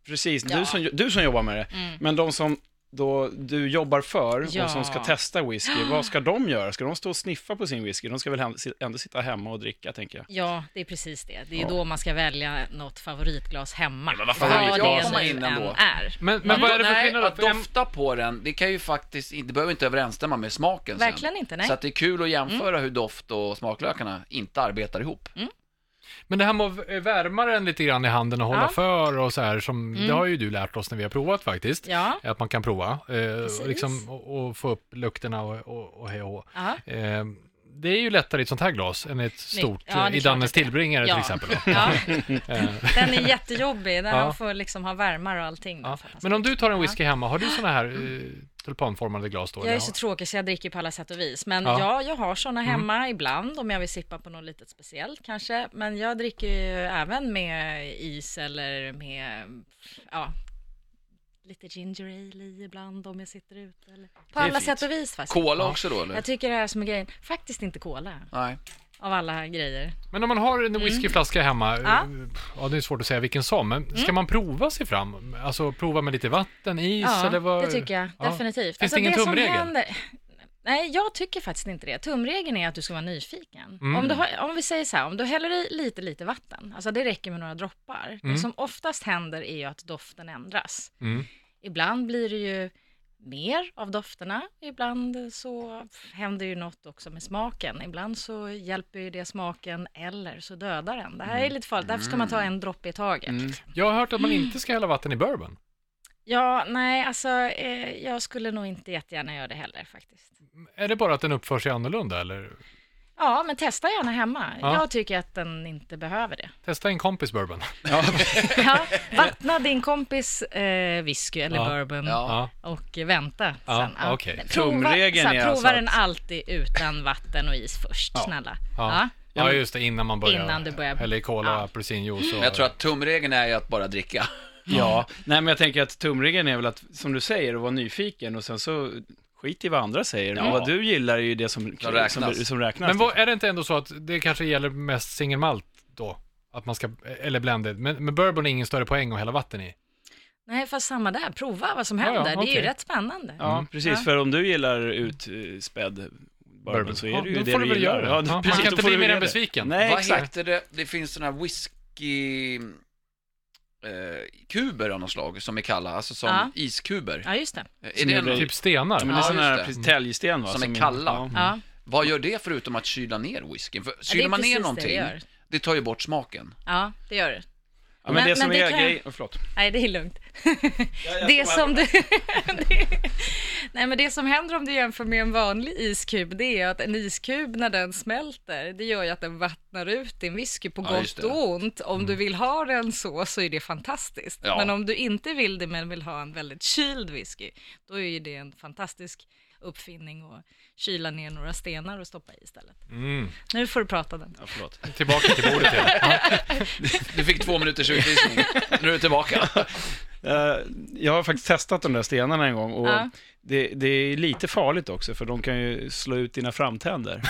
D: det, precis,
E: Ja. Mm.
D: du, som, du som jobbar med det, men de som då du jobbar för
E: Ja.
D: och som ska testa whisky,
E: [GASPS]
D: vad ska de göra? Ska de stå och sniffa på sin whisky? De ska väl hem- si- ändå sitta hemma och dricka, tänker jag.
E: Ja, det är precis det. Det är ju
D: Ja.
E: då man ska välja något favoritglas hemma.
C: Men vad fan, jag
E: det
C: kommer
E: nu
C: in ändå.
E: än är.
B: Men, men vad är det för
C: nej,
B: skillnad då?
C: att
B: För jag-
C: dofta på den, det kan ju faktiskt inte, det behöver inte överensstämma med smaken
E: Verkligen
C: sen.
E: inte, nej. Mm.
C: Så att det är kul att jämföra hur doft och smaklökarna inte arbetar ihop.
B: Men det här med att eh, värma den lite grann i handen och hålla
E: Ja. Mm.
B: för och så här, som, det har ju du lärt oss när vi har provat faktiskt.
E: Ja.
B: Att man kan prova eh, och
E: Precis.
B: liksom, och, och få upp lukterna och, och, och hej och hå.
E: Ja.
B: eh, Det är ju lättare i ett sånt här glas än i ett stort,
E: ja, det är
B: eh, i
E: klart
B: Dannes
E: att det är.
B: tillbringare till exempel. då.
E: Ja. Den är jättejobbig, där
B: Ja.
E: man får liksom ha värmar och allting.
B: Ja.
E: Fantastiskt. Mm.
B: Men om du tar en whisky hemma, har du såna här eh, tulpanformade glas då?
E: Jag är
B: eller?
E: så tråkig så jag dricker på alla sätt och vis. Men
B: Ja. Mm.
E: ja, jag har sådana hemma ibland om jag vill sippa på något litet speciellt kanske. Men jag dricker ju även med is eller med, ja, lite ginger ale i ibland om jag sitter ute. Eller. På alla
C: fint.
E: sätt och vis faktiskt.
C: Cola också då eller?
E: Jag tycker det här som är grejen, faktiskt inte cola
C: Nej.
E: av alla grejer.
B: Men om man har en whiskyflaska hemma, ja.
E: Mm. Ja. Mm.
B: ja det är svårt att säga vilken som, men ska man prova sig fram? Alltså prova med lite vatten, is
E: Ja,
B: eller vad?
E: det tycker jag
B: Ja.
E: definitivt. Alltså,
B: Finns det ingen
E: som
B: tumregel?
E: händer- Nej, jag tycker faktiskt inte det. Tumregeln är att du ska vara nyfiken.
B: Mm.
E: Om, du har, om vi säger så här, om du häller i lite, lite vatten, alltså det räcker med några droppar. Det som oftast händer är ju att doften ändras.
B: Mm.
E: Ibland blir det ju mer av dofterna, ibland så händer ju något också med smaken. Ibland så hjälper ju det smaken eller så dödar den. Det här
B: Mm.
E: är lite farligt, därför ska man ta en droppe i taget.
B: Jag har hört att man inte ska hälla vatten i bourbon.
E: Ja, nej, alltså eh, jag skulle nog inte jättegärna göra det heller faktiskt.
B: Är det bara att den uppför sig annorlunda eller?
E: Ja, men testa gärna hemma.
B: Ja.
E: Jag tycker att den inte
B: [LAUGHS]
E: behöver det.
B: Testa en kompis bourbon.
E: Ja, vattna din kompis eh, whisky eller
B: Ja.
E: bourbon
C: Ja.
B: Ja.
E: och eh, vänta
B: Ja,
E: sen. Ja.
B: okej.
E: Nej, Prova,
D: Tumregeln
E: så här,
D: är
E: prova
D: alltså att-
E: den alltid utan vatten och is först, snälla.
B: Ja.
E: Ja.
B: ja, just det, innan man börjar.
E: Innan du börjar-
B: Hälla i cola,
E: Ja.
B: apelsinjuice och...
C: Men jag tror att tumregeln är ju att bara dricka.
D: Ja, nej men jag tänker att tumregeln är väl att, som du säger, att vara nyfiken och sen så skit i vad andra säger. Men vad du gillar är ju det som,
C: Som räknas.
D: som, som räknas.
B: Men vad, är det inte ändå så att det kanske gäller mest singelmalt då? Att man ska, eller blended, men, men bourbon är ingen större poäng att hälla vatten i.
E: Nej, fast samma där. Prova vad som
B: Ja, ja,
E: händer. Det är
B: okej.
E: ju rätt spännande.
D: Ja,
B: Mm.
D: precis.
E: Ja.
D: För om du gillar utspädd bourbon så är
B: Ja,
D: det ju
B: då
D: det
B: får
D: du
B: du väl
D: gillar.
B: göra det.
D: Ja,
B: Ja, man
D: precis,
B: kan
D: då
B: inte
D: får
B: bli
D: du
B: mer
D: göra
B: än
D: det.
B: besviken.
D: Nej,
C: Vad
D: exakt.
C: heter det? Det finns sådana här whisky... Eh, kuber av något slag som är kalla, alltså som
E: Ja.
C: iskuber.
E: Ja, just det.
C: Är det
D: är
C: en,
D: väl-
B: Typ stenar.
D: Ja, men det är
C: Ja,
D: sån
C: just
D: här
C: det.
D: precis, täljsten va?
C: Som är kalla.
E: Ja.
C: vad gör det förutom att kyla ner whiskyn? För kyler man
E: precis
C: ner
E: det det
C: någonting,
E: gör.
C: det tar ju bort smaken.
E: ja, det gör det.
D: Ja, men,
E: Men-
D: det som
E: men det
D: är
E: kan-
D: grejen... Förlåt.
E: Nej, det är lugnt. det som du... [LAUGHS] det- Nej, men det som händer om du jämför med en vanlig iskub, det är att en iskub när den smälter, det gör ju att den vattnar ut din whisky på
C: Ja, just
E: gott
C: det.
E: och ont. Om du vill ha den så, så är det fantastiskt.
C: Ja.
E: Men om du inte vill det, men vill ha en väldigt kyld whisky, då är ju det en fantastisk uppfinning att kyla ner några stenar och stoppa i istället.
B: Mm.
E: Nu får du prata den.
D: Ja, förlåt.
B: Tillbaka till bordet igen. Ja.
C: Du fick två minuters utvisning, nu är du tillbaka.
D: Eh, jag har faktiskt testat de där stenarna en gång och
E: Ja.
D: det, det är lite farligt också för de kan ju slå ut dina framtänder.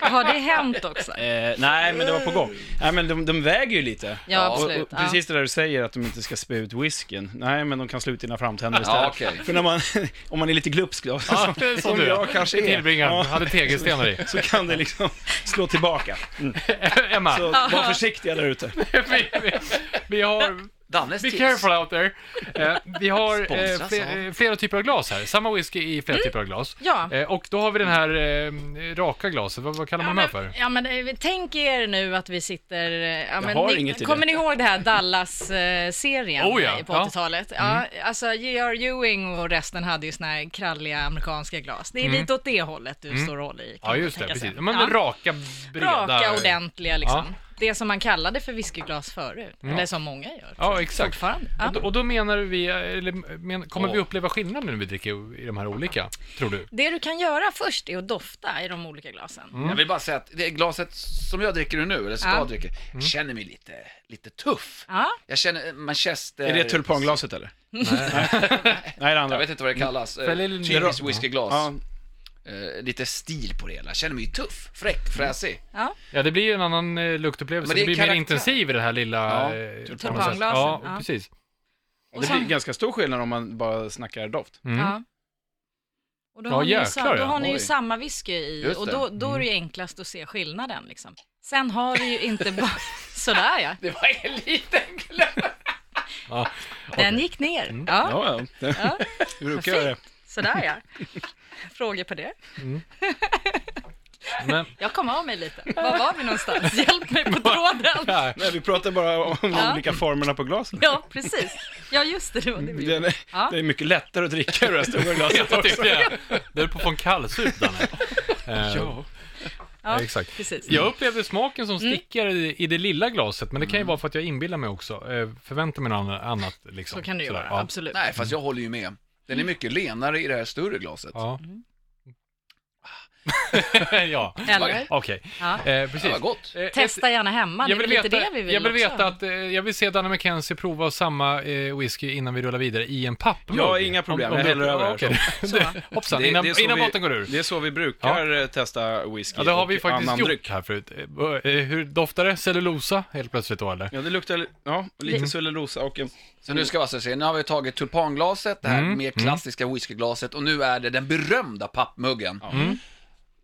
E: Har det hänt också?
D: Eh, nej, men det var på gång. Nej, men de, de väger ju lite.
E: Ja,
D: Och,
E: absolut.
D: och
E: Ja.
D: precis det där du säger, att de inte ska spä ut whiskyn. Nej, men de kan slå ut dina framtänder istället.
C: Ja, okej.
D: För när man, [LAUGHS] om man är lite glupsk då,
B: Ja, det är
D: [LAUGHS]
B: [LAUGHS]
D: som,
B: som
D: som
B: du.
D: jag kanske är,
B: Tillbringaren, hade tegelstenar i.
D: [LAUGHS] så kan det liksom [LAUGHS] slå tillbaka. Mm.
B: Emma,
D: Så var försiktiga där ute.
B: vi, vi, vi har...
C: Dannes
B: Be
C: tips.
B: careful out there. Eh, vi har eh,
C: Sponsras
B: fler,
C: av.
B: eh, flera typer av glas här. Samma whisky i flera typer av glas.
E: Mm. Ja.
B: Eh, och då har vi den här eh, raka glaset. Vad, vad kallar man de här för?
E: men, ja, men eh, tänk er nu att vi sitter... eh, Ja, men,
D: har
E: ni,
D: inget i det.
E: kommer ni ihåg det här Dallas-serien
B: Oh ja,
E: på
B: ja. Mm.
E: 80-talet? Ja. alltså J.R. Ewing och resten hade ju såna här kralliga amerikanska glas. Det är lite åt det hållet du står och håller i. kan
B: Mm. Ja,
E: man
B: just det.
E: tänka sig.
B: Precis. Men
E: Ja.
B: raka, breda.
E: Raka, ordentliga liksom.
B: Ja. Mm.
E: Det som man kallade för whiskyglas förut, eller som många gör.
B: Ja, exakt.
E: Fortfarande.
B: Och då,
E: Ja.
B: och då menar vi, eh, eller men, kommer
C: Åh.
B: vi uppleva skillnaden när vi dricker i de här olika, tror du?
E: Det du kan göra först är att dofta i de olika glasen.
B: Mm.
C: Jag vill bara säga att det glaset som jag dricker nu, eller ska
E: Ja.
C: dricka, känner mig lite, lite tuff.
E: Ja.
C: Jag känner Manchester...
D: Är det tulpanglaset eller? Nej, Nej det andra.
C: Jag vet inte vad det kallas. Eh,
B: Fäller-
C: Typiskt
B: Ja.
C: whiskyglas.
D: Ja,
C: Eh, lite stil på det hela. Känner mig ju tuff,
D: Mm.
C: fräck, fräsig.
E: Ja.
B: Ja, det blir ju en annan eh, luktupplevelse.
C: Men
B: Det,
C: det är
B: blir mer
C: karaktär.
B: intensiv i det här lilla...
C: Ja,
B: eh, på något sätt.
E: tulpanglasen,
B: Ja,
E: ja.
B: precis.
D: Och det
E: sen-
D: blir ganska stor skillnad om man bara snackar doft.
B: Mm.
E: Ja. Och då
B: Ja,
E: har, ni, ju
B: jäklar,
E: sam- då
B: ja.
E: har ni ju
D: Oj.
E: samma whisky i
C: Just
E: och
C: det.
E: då, då är det ju
B: Mm.
E: enklast att se skillnaden. Liksom. Sen har du ju inte bara... [LAUGHS] Sådär ja,
C: Det var en liten glöm.
B: Ja.
E: [LAUGHS] den gick ner.
B: Mm.
E: Ja,
D: Ja, ja. [LAUGHS]
E: ja.
D: Det brukar jag det.
E: Sådär
B: [LAUGHS]
E: ja. Frågor på det?
B: Mm.
E: [LAUGHS]
B: Men,
E: Jag kom av mig lite. Var var vi
B: [LAUGHS]
E: någonstans? Hjälp mig på tråden.
B: ja.
D: Nej, vi pratar bara om de
E: Ja.
D: olika formerna på glasen.
E: Ja, precis. Ja, just det. Det var det vi
B: Mm.
D: Det
E: gjorde.
D: är,
E: Ja.
D: det är mycket lättare att dricka ur det här
B: [LAUGHS]
D: stora glaset
B: Jag
D: också.
B: tyckte jag. Du höll på att få en kallsup,
D: [LAUGHS]
B: Danne. Eh,
E: Ja,
B: exakt.
E: Precis. Mm.
B: Jag upplevde smaken som sticker i- i det lilla glaset, men det
D: Mm.
B: kan ju vara för att jag inbillar mig också. Eh, Förväntar mig något anna- annat. Liksom.
E: Så kan du
B: Sådär,
E: göra,
B: ja.
E: absolut.
C: Nej, fast jag håller ju med.
D: Mm.
C: Den är mycket lenare i det här större glaset.
B: Ja.
E: Mm.
B: [LAUGHS] ja,
E: Eller?
B: okej.
E: Ja.
B: Eh,
C: Det
B: precis.
C: var gott.
B: Eh, ett-
E: Testa gärna hemma, det är väl lite det vi vill
B: jag vill
E: också.
B: veta att, eh, jag vill se Danne McKenzie prova samma eh, whisky innan vi rullar vidare i en pappmugg.
D: Ja, inga problem. Jag
B: du-
D: häller över här. [LAUGHS]
B: okej. [LAUGHS] Det- Hoppsan, innan,
D: så
B: innan
D: vi-
B: botten går ur.
D: Det är så vi brukar eh, testa whisky
B: Ja, det har vi
D: och
B: faktiskt
D: annan
B: gjort
D: dryck.
B: här förut. Eh, eh, Hur doftar det? Cellulosa helt plötsligt då eller?
D: Ja, det luktar ja, lite
B: Mm.
D: cellulosa och en...
C: Så nu ska vi alltså se, nu har vi tagit tulpanglaset, det här
D: Mm,
C: mer klassiska whiskyglaset och nu är det den berömda pappmuggen.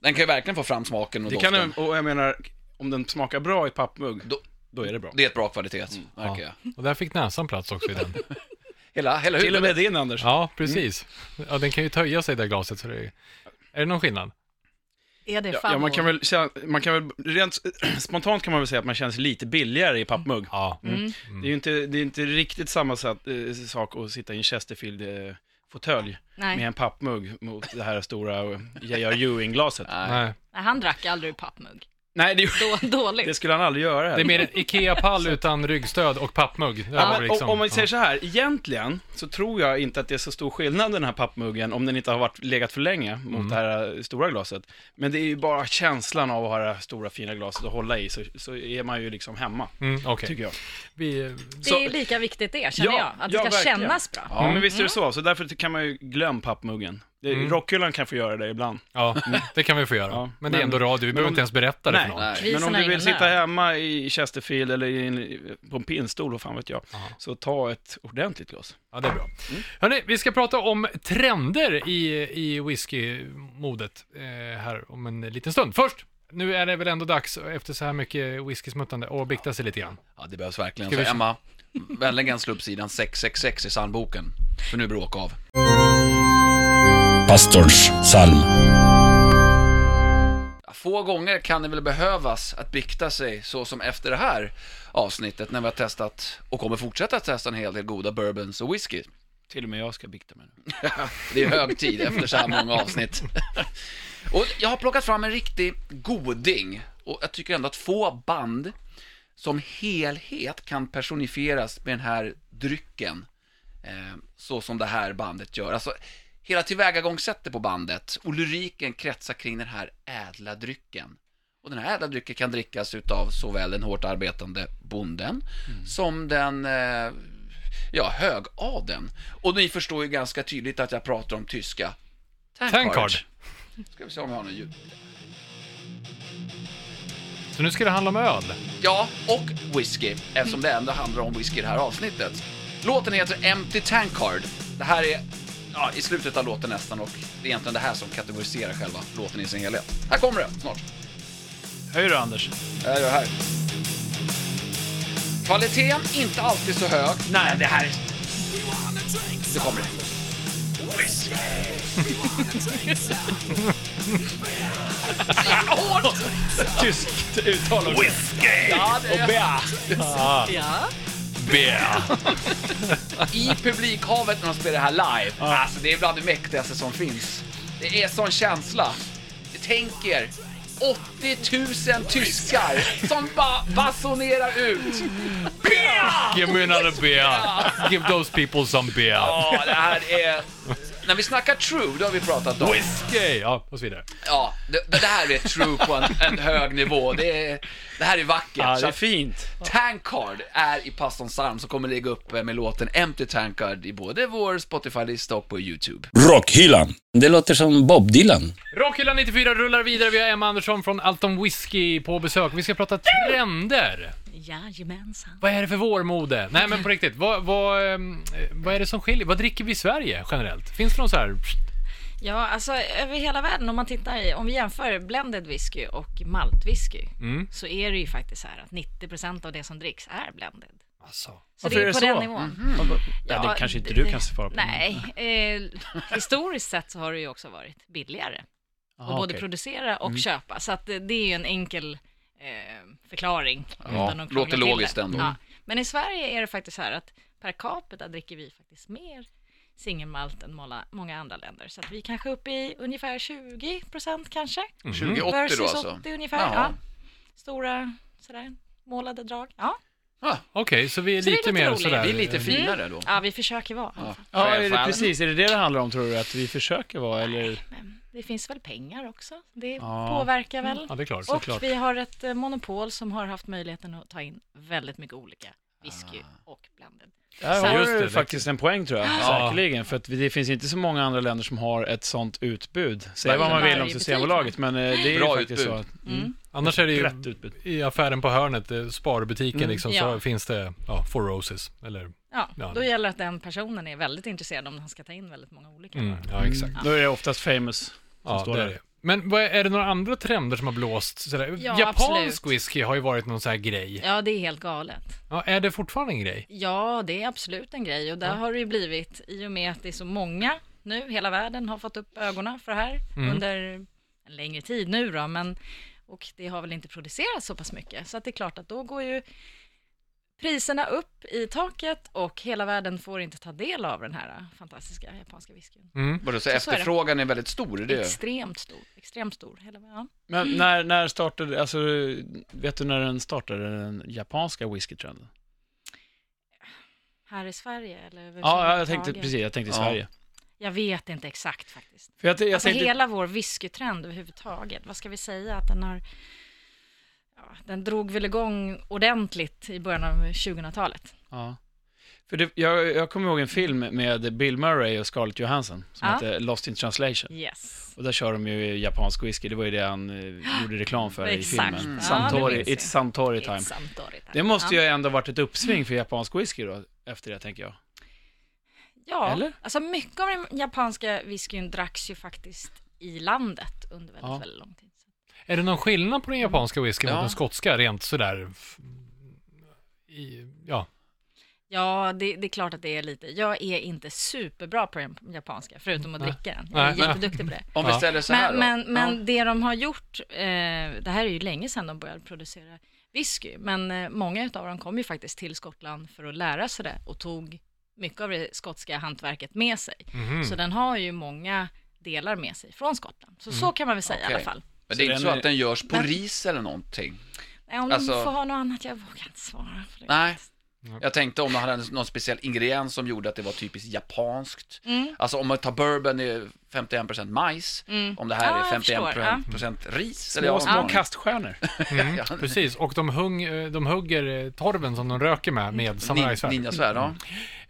C: Den kan ju verkligen få fram smaken och
D: Mm. Det
C: doften.
D: kan, och jag menar, om den smakar bra i pappmugg,
C: Då-
D: då, är det bra. Mm.
C: Det är ett bra kvalitet, märker jag.
B: Och där fick näsan plats också i
D: [LAUGHS]
B: den.
C: Hela, hela
D: Till och
C: huvudet.
D: med din Anders.
B: Ja, precis. Ja, den kan ju töja sig där glaset så det är... Är det någon skillnad?
E: Är det
D: Ja,
E: fan
D: ja, man, kan
E: vår-
D: väl, känna- man kan väl, rent [CLEARS THROAT] spontant kan man väl säga att man känner sig lite billigare i pappmugg.
B: Ja.
D: Mm.
B: Mm.
D: Det är ju inte, det är inte riktigt samma sätt, eh, sak att sitta i en Chesterfield-fåtölj
E: Nej.
D: med en pappmugg mot det här stora eh, J.R. Ewing-glaset.
C: Nej.
B: Nej.
E: Nej, han drack aldrig ur pappmugg.
D: Nej, det, gjorde-
E: Då, [LAUGHS] dåligt.
D: det skulle han aldrig göra.
B: Det är mer en
D: [LAUGHS]
B: IKEA-pall utan ryggstöd och pappmugg. Det
D: Ja,
B: var
D: men
B: liksom-
D: om, om man säger så här, egentligen så tror jag inte att det är så stor skillnad den här pappmuggen om den inte har varit, legat för länge mot
B: Mm.
D: det här eh, stora glaset. Men det är ju bara känslan av att ha det här stora fina glaset att hålla i så, så är man ju liksom hemma,
B: ja. mm, okej.
D: tycker jag.
B: Vi...
D: så-
E: Det är lika viktigt det, känner
D: Ja,
E: jag. Att det
D: ja,
E: ska
D: verkligen.
E: kännas bra.
D: Ja, men visst är det så. Så därför kan man ju glömma pappmuggen. Det,
B: Mm.
D: Rockhyllan kan få göra det ibland.
B: Ja, det kan vi få göra.
D: Mm. Ja,
B: men det är
D: men-
B: ändå radio, vi behöver
D: om-
B: inte ens berätta det för
D: Nej.
B: någon.
C: Nej.
E: Krisen
D: men om
E: har
D: du
E: ingen
D: vill sitta
E: lön.
D: hemma i Chesterfield eller i en, på en pinnstol, vad fan vet jag, så ta ett ordentligt glas.
B: Ja, det är bra. Hörrni, vi ska prata om trender i, i whiskymodet eh, här om en liten stund. Först, nu är det väl ändå dags efter så här mycket whiskysmuttande att bikta sig lite grann.
C: Ja, det behövs verkligen.
B: Ska
C: Så
B: vi-
C: Emma, vänligen slå upp sidan 666 i psalmboken. För nu är det bråk av.
A: Pastorns psalm.
C: Få gånger kan det väl behövas att bikta sig så som efter det här avsnittet när vi har testat och kommer fortsätta att testa en hel del goda bourbons och whisky.
D: Till och med jag ska bikta mig nu.
C: Det är hög tid efter så här många avsnitt. Och jag har plockat fram en riktig goding och jag tycker ändå att få band som helhet kan personifieras med den här drycken eh, så som det här bandet gör. Alltså, hela tillvägagångssättet på bandet och lyriken kretsar kring den här ädla drycken. Och den här ädla drycken kan drickas utav såväl den hårt arbetande bonden som den eh, ja, högadeln. Och ni förstår ju ganska tydligt att jag pratar om tyska
B: Tankard.
C: Ska vi se om jag har något ljud.
B: Så nu ska det handla om öl.
C: Ja, och whisky, eftersom det ändå handlar om whisky i det här avsnittet. Låten heter Empty Tankard. Det här är ja, i slutet av låten nästan och det är egentligen det här som kategoriserar själva låten i sin helhet. Här kommer det snart.
D: Höj då Anders.
C: Här är det här. Kvaliteten inte alltid så hög.
D: Nej, det här är...
C: Nu kommer det.
D: Tyskt uttal också.
C: Ja, det är...
E: Ja.
C: I publikhavet när de spelar det här live. Alltså det är bland det mäktigaste som finns. Det är sån känsla. Tänk er 80 000 tyskar som bara basunerar ut.
B: Give me another beer. Give those people some beer.
C: Ja, det här är... När vi snackar true, då har vi pratat om.
B: Whisky! Ja, och så vidare.
C: Ja, det, det här är true på en, en hög nivå. Det, är, det här är vackert.
D: Ja,
C: Så
D: det är
C: att
D: fint.
C: Tankard är i pastorns arm som kommer ligga upp eh, med låten Empty Tankard i både vår Spotify-lista och på YouTube.
D: Mm.
A: Rockhyllan. Det låter som Bob Dylan.
B: Rockhyllan 94 rullar vidare. Vi har Emma Andersson från Allt om Whisky på besök. Vi ska prata trender.
E: Jajamensan.
B: Vad är det för vårmode? Nej men på riktigt, vad, vad, ehm, vad är det som skiljer? Vad dricker vi i Sverige generellt? Finns det någon så här...
E: Ja, alltså över hela världen om man tittar i, om vi jämför blended whisky och maltwhisky
B: Mm.
E: så är det ju faktiskt så här att 90 av det som dricks är blended.
B: Alltså.
E: Så
D: Varför är det
E: på
D: så?
E: den nivån.
C: Mhm.
D: Ja, det kanske inte
E: d-
D: du
E: det-
D: kan svara på.
E: Nej, eh, historiskt sett så har det ju också varit billigare att
D: Ah,
E: både producera
D: Mm.
E: och köpa. Så att eh, det är ju en enkel eh, förklaring. utan att
C: låter
E: krångla till
C: logiskt
E: det.
C: ändå.
E: Ja. Men i Sverige är det faktiskt så här att per capita dricker vi faktiskt mer singelmalt än måla- många andra länder. Så att vi kanske är uppe i ungefär 20 procent kanske.
D: Mm.
C: 2080 då
E: Versus
C: alltså?
E: 80 ungefär.
C: Jaha.
E: Ja. Stora sådär målade drag. Ja,
C: Ah,
B: Okej, så vi är
E: Så det är
B: lite,
E: lite
B: mer
E: roligt.
B: sådär...
C: vi är lite finare då.
E: ja vi försöker vara.
C: Ja,
D: Ja, är det,
C: Självfallet.
D: precis. Är det det det handlar om, tror du? Att vi försöker vara, eller?
E: Men det finns väl pengar också. Det
D: Ja.
E: påverkar väl.
B: Mm. Ja, det är klart.
E: Och
B: Såklart.
E: vi har ett eh, monopol som har haft möjligheten att ta in väldigt mycket olika whisky
B: Ah.
E: och blanded.
D: Där
E: Så-
D: har
B: Just det,
D: du
B: det-
D: faktiskt en poäng, tror jag. Säkerligen. För att vi- det finns inte så många andra länder som har ett sånt utbud. Säg vad man
E: Varje
D: vill om
E: butik.
D: Systembolaget, men eh, det är
C: Bra
D: ju faktiskt
C: utbud.
D: så. att- Mm.
B: Annars är det ju
D: Brett utbud.
B: i affären på hörnet, eh, sparbutiken liksom, så
E: Ja.
B: finns det ja, Four Roses. Eller,
E: Ja,
B: Ja.
E: då gäller det att den personen är väldigt intresserad om han ska ta in väldigt många olika.
B: mm, ja, exakt.
D: Då är det oftast famous. som
B: Ja,
D: står
B: det är
D: där.
B: det. Men vad är, är det några andra trender som har blåst? Sådär?
E: Ja,
B: Japansk
E: absolut.
B: whisky har ju varit någon sån här grej.
E: Ja, det är helt galet.
B: Ja, är det fortfarande en grej?
E: Ja, det är absolut en grej och där har det ju blivit i och med att det är så många nu, hela världen har fått upp ögonen för det här
D: Mm.
E: under en längre tid nu då, men och det har väl inte producerats så pass mycket så att det är klart att då går ju priserna upp i taket och hela världen får inte ta del av den här fantastiska japanska whiskyn.
C: Vadå, så
E: Så- så är det.
C: efterfrågan är väldigt stor? Det är...
E: Extremt stor, extremt stor. Hela, ja.
D: Men när, när startade, alltså, vet du när den startade, den japanska whiskytrenden?
E: Här i Sverige eller
D: Ja, jag tänkte,
E: överhuvudtaget.
D: precis, jag tänkte i
C: Ja.
D: Sverige.
E: Jag vet inte exakt faktiskt.
D: För jag, t- jag
E: alltså
D: tänkte,
E: hela vår whiskytrend överhuvudtaget, vad ska vi säga att den har... Ja, den drog väl igång ordentligt i början av 2000-talet.
D: Ja. För det, jag, jag kommer ihåg en film med Bill Murray och Scarlett Johansson som
E: Ja.
D: hette Lost in translation.
E: Yes.
D: Och där kör de ju japansk whisky, det var ju det han eh, gjorde reklam för i
E: Exakt.
D: filmen.
E: Mm.
D: Santori,
E: Ja, det minns jag.
D: it's Santori time.
E: It's Suntory time.
D: Det måste
E: ja.
D: ju ändå varit ett uppsving för japansk whisky då, efter det tänker jag.
E: Mm. Ja,
D: eller?
E: alltså mycket av den japanska whiskyn dracks ju faktiskt i landet under väldigt,
D: Ja.
E: väldigt lång tid.
B: Är det någon skillnad på den japanska whiskyn
C: Ja.
B: mot den skotska, rent sådär? f- I, ja,
E: Ja, det, det är klart att det är lite. Jag är inte superbra på den japanska, förutom att dricka den. Jag
B: Nej,
E: är
B: nej.
E: jätteduktig på det.
C: Om vi
B: Ja.
C: ställer så här
E: Men,
C: då.
E: men, men det de har gjort, eh, det här är ju länge sedan de började producera whisky, men eh, många av dem kom ju faktiskt till Skottland för att lära sig det och tog mycket av det skotska hantverket med sig.
C: Mhm.
E: Så den har ju många delar med sig från Skottland. Så så kan man väl säga i alla
C: Mm. Okej.
E: fall.
C: Men det är
D: Så
C: inte så
D: den är-
C: att den görs på
E: Men-
C: ris eller någonting?
E: Nej, Eh, om
C: Alltså-
E: de får ha något annat, jag vågar inte svara på det.
C: Nej. Jag tänkte om de hade någon speciell ingrediens som gjorde att det var typiskt japanskt.
E: Mm.
C: Alltså om man tar bourbon är 51% majs, om det här
E: Mm. Ja, jag
C: är 51%
E: förstår,
C: ris. eller
D: Små,
C: jag har ingen
D: små
C: aning.
D: kaststjärnor.
C: Ja,
B: Mm. precis. Och de, hung, eh, de hugger eh, torven som de röker med, med
C: nin-
B: samurajsvärd.
C: Ninjasvärd, ja.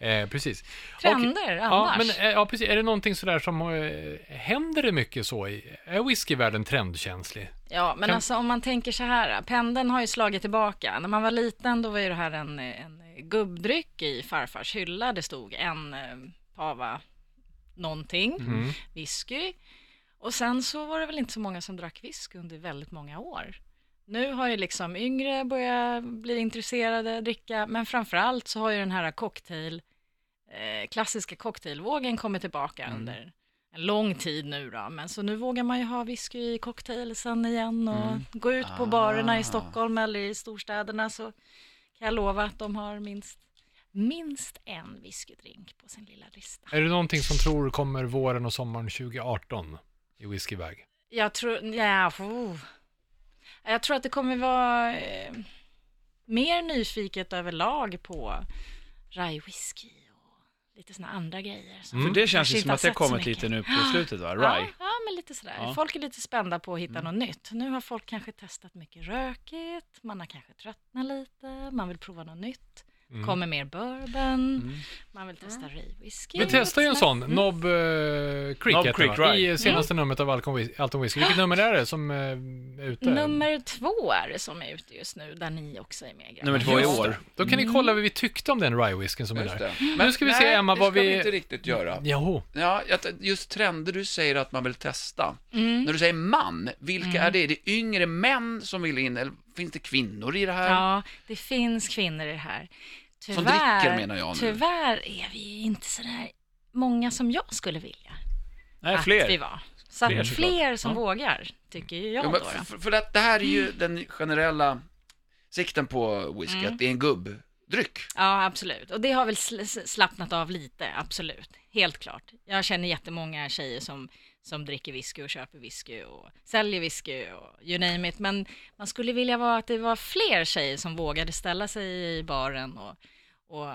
B: Eh, precis. Och, ja,
E: Trender
B: men,
E: annars?
B: eh, ja, precis. Är det någonting sådär som, eh, händer det mycket så i, är whiskyvärlden trendkänslig?
E: Ja, men
B: Kan-
E: alltså om man tänker så här, pendeln har ju slagit tillbaka. När man var liten då var ju det här en, en gubbdryck i farfars hylla. Det stod en eh, pava någonting, whisky. Och sen så var det väl inte så många som drack whisky under väldigt många år. Nu har ju liksom yngre börjat bli intresserade, dricka, men framförallt så har ju den här cocktail, eh, klassiska cocktailvågen kommit tillbaka under en lång tid nu då, men så nu vågar man ju ha whisky i cocktailsen igen och
D: Mm.
E: gå ut på barerna
C: Ah.
E: i Stockholm eller i storstäderna så kan jag lova att de har minst, minst en whiskydrink på sin lilla lista.
B: Är det någonting som tror kommer våren och sommaren 2018 i whiskyväg?
E: Jag tror, ja, oh. jag tror att det kommer vara eh, mer nyfiket överlag på rye whisky och lite sådana andra grejer. som
D: Mm. För
E: man
D: det känns
E: kanske
D: ju
E: inte
D: som
E: har
D: att det har
E: sett så
D: kommit
E: mycket.
D: lite nu på slutet va?
E: Ja,
D: Rye.
E: ja, men lite sådär.
D: Ja.
E: Folk är lite spända på att hitta något nytt. Nu har folk kanske testat mycket rökigt, man har kanske tröttnat lite, man vill prova något nytt. kommer mer bourbon, man vill testa röjwhisky.
B: Vi testar ju en sån, Knob eh, Creek,
D: Knob
B: heter
D: Creek
B: den, va?
D: Rye.
B: i senaste numret av Alton Whis- Alton Whisky. Vilket nummer är det som eh, är ute?
E: Nummer två är det som är ute just nu, där ni också är med. grabbar.
D: Nummer två i
C: Just
D: år.
C: det.
B: Då
E: Mm.
B: kan ni kolla vad vi tyckte om den rye whiskyn som är
C: Just
B: där.
C: det.
B: Nu ska vi se,
C: nej,
B: Emma,
C: det
B: vad
C: ska
B: vi-
C: inte riktigt göra.
B: Jaha.
C: Ja, jag- just trender du säger att man vill testa. När du säger man, vilka är det? Är det yngre män som vill in, eller finns det kvinnor i det här?
E: Ja, det finns kvinnor i det här. Tyvärr,
C: dricker, menar jag nu.
E: Tyvärr är vi ju inte sådär många som jag skulle vilja
D: Nej,
E: att vi
D: fler.
E: var. Så att
D: Fler
E: fler,
D: såklart.
E: som vågar, tycker ju jag
C: Ja,
E: då.
C: men
E: då.
C: för, för att det här är ju den generella sikten på whisky, att det är en gubbdryck.
E: Ja, absolut. Och det har väl sl- sl- slappnat av lite, absolut. Helt klart. Jag känner jättemånga tjejer som, som dricker whisky och köper whisky och säljer whisky och you name it. Men man skulle vilja vara att det var fler tjejer som vågade ställa sig i baren och, och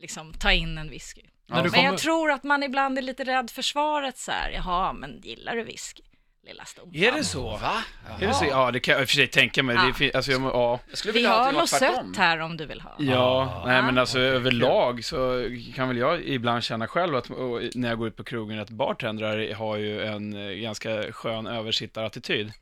E: liksom ta in en whisky.
B: När du
E: Men jag
B: kommer...
E: tror att man ibland är lite rädd för svaret så här. Jaha, men gillar du whisky? Lilla stompan.
D: Är det så?
C: Va?
D: Är det så? Ja, det kan jag i och för sig tänka mig. Det
E: Ja.
D: fin- alltså, jag, må- ja.
C: Jag skulle
E: Vi
C: vilja ha
E: har
C: att det var
E: något
C: tvärtom.
E: sött här om du vill ha.
D: Ja, nej men alltså överlag
C: överlag
D: så kan väl jag ibland känna själv att och, när jag går ut på krogen att bartendrar har ju en eh, ganska skön översittarattityd.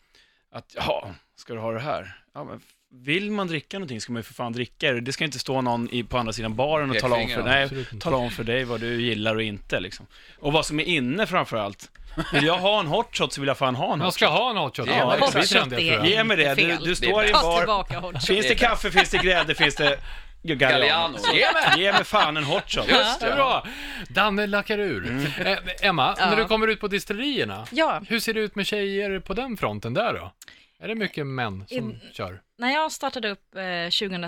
D: Att ja, ska du ha det här? Ja, men vill man dricka någonting ska man ju för fan dricka det. Det ska inte stå någon i, på andra sidan baren och tala om, för,
C: Pekfingrar,
D: nej,
B: absolut inte.
D: tala om för dig vad du gillar och inte liksom. Och vad som är inne framför allt. Vill jag ha en hot shot så vill jag fan ha en
B: Jag
D: hot
B: ska
D: shot.
B: ha en hot shot.
C: Ja,
B: Ja,
D: exakt.
B: exakt. Kände jag, tror jag.
D: Ge mig det. Du, du
C: Det
D: står
C: är
D: i en
E: Ta
D: bar.
E: tillbaka hot shot.
D: Finns det kaffe, finns det
C: [LAUGHS]
D: grädde, finns det
C: Galliano.
D: Galliano?
C: Ge mig!
D: Ge mig fan en hot shot.
C: Just
B: Det är
C: det.
B: bra. Danne lackar ur. Eh, Emma,
E: Mm. Ja.
B: när du kommer ut på destillerierna,
E: Ja,
B: hur ser det ut med tjejer på den fronten där då? Är det mycket män som
E: In-
B: kör?
E: när jag startade upp eh, 2003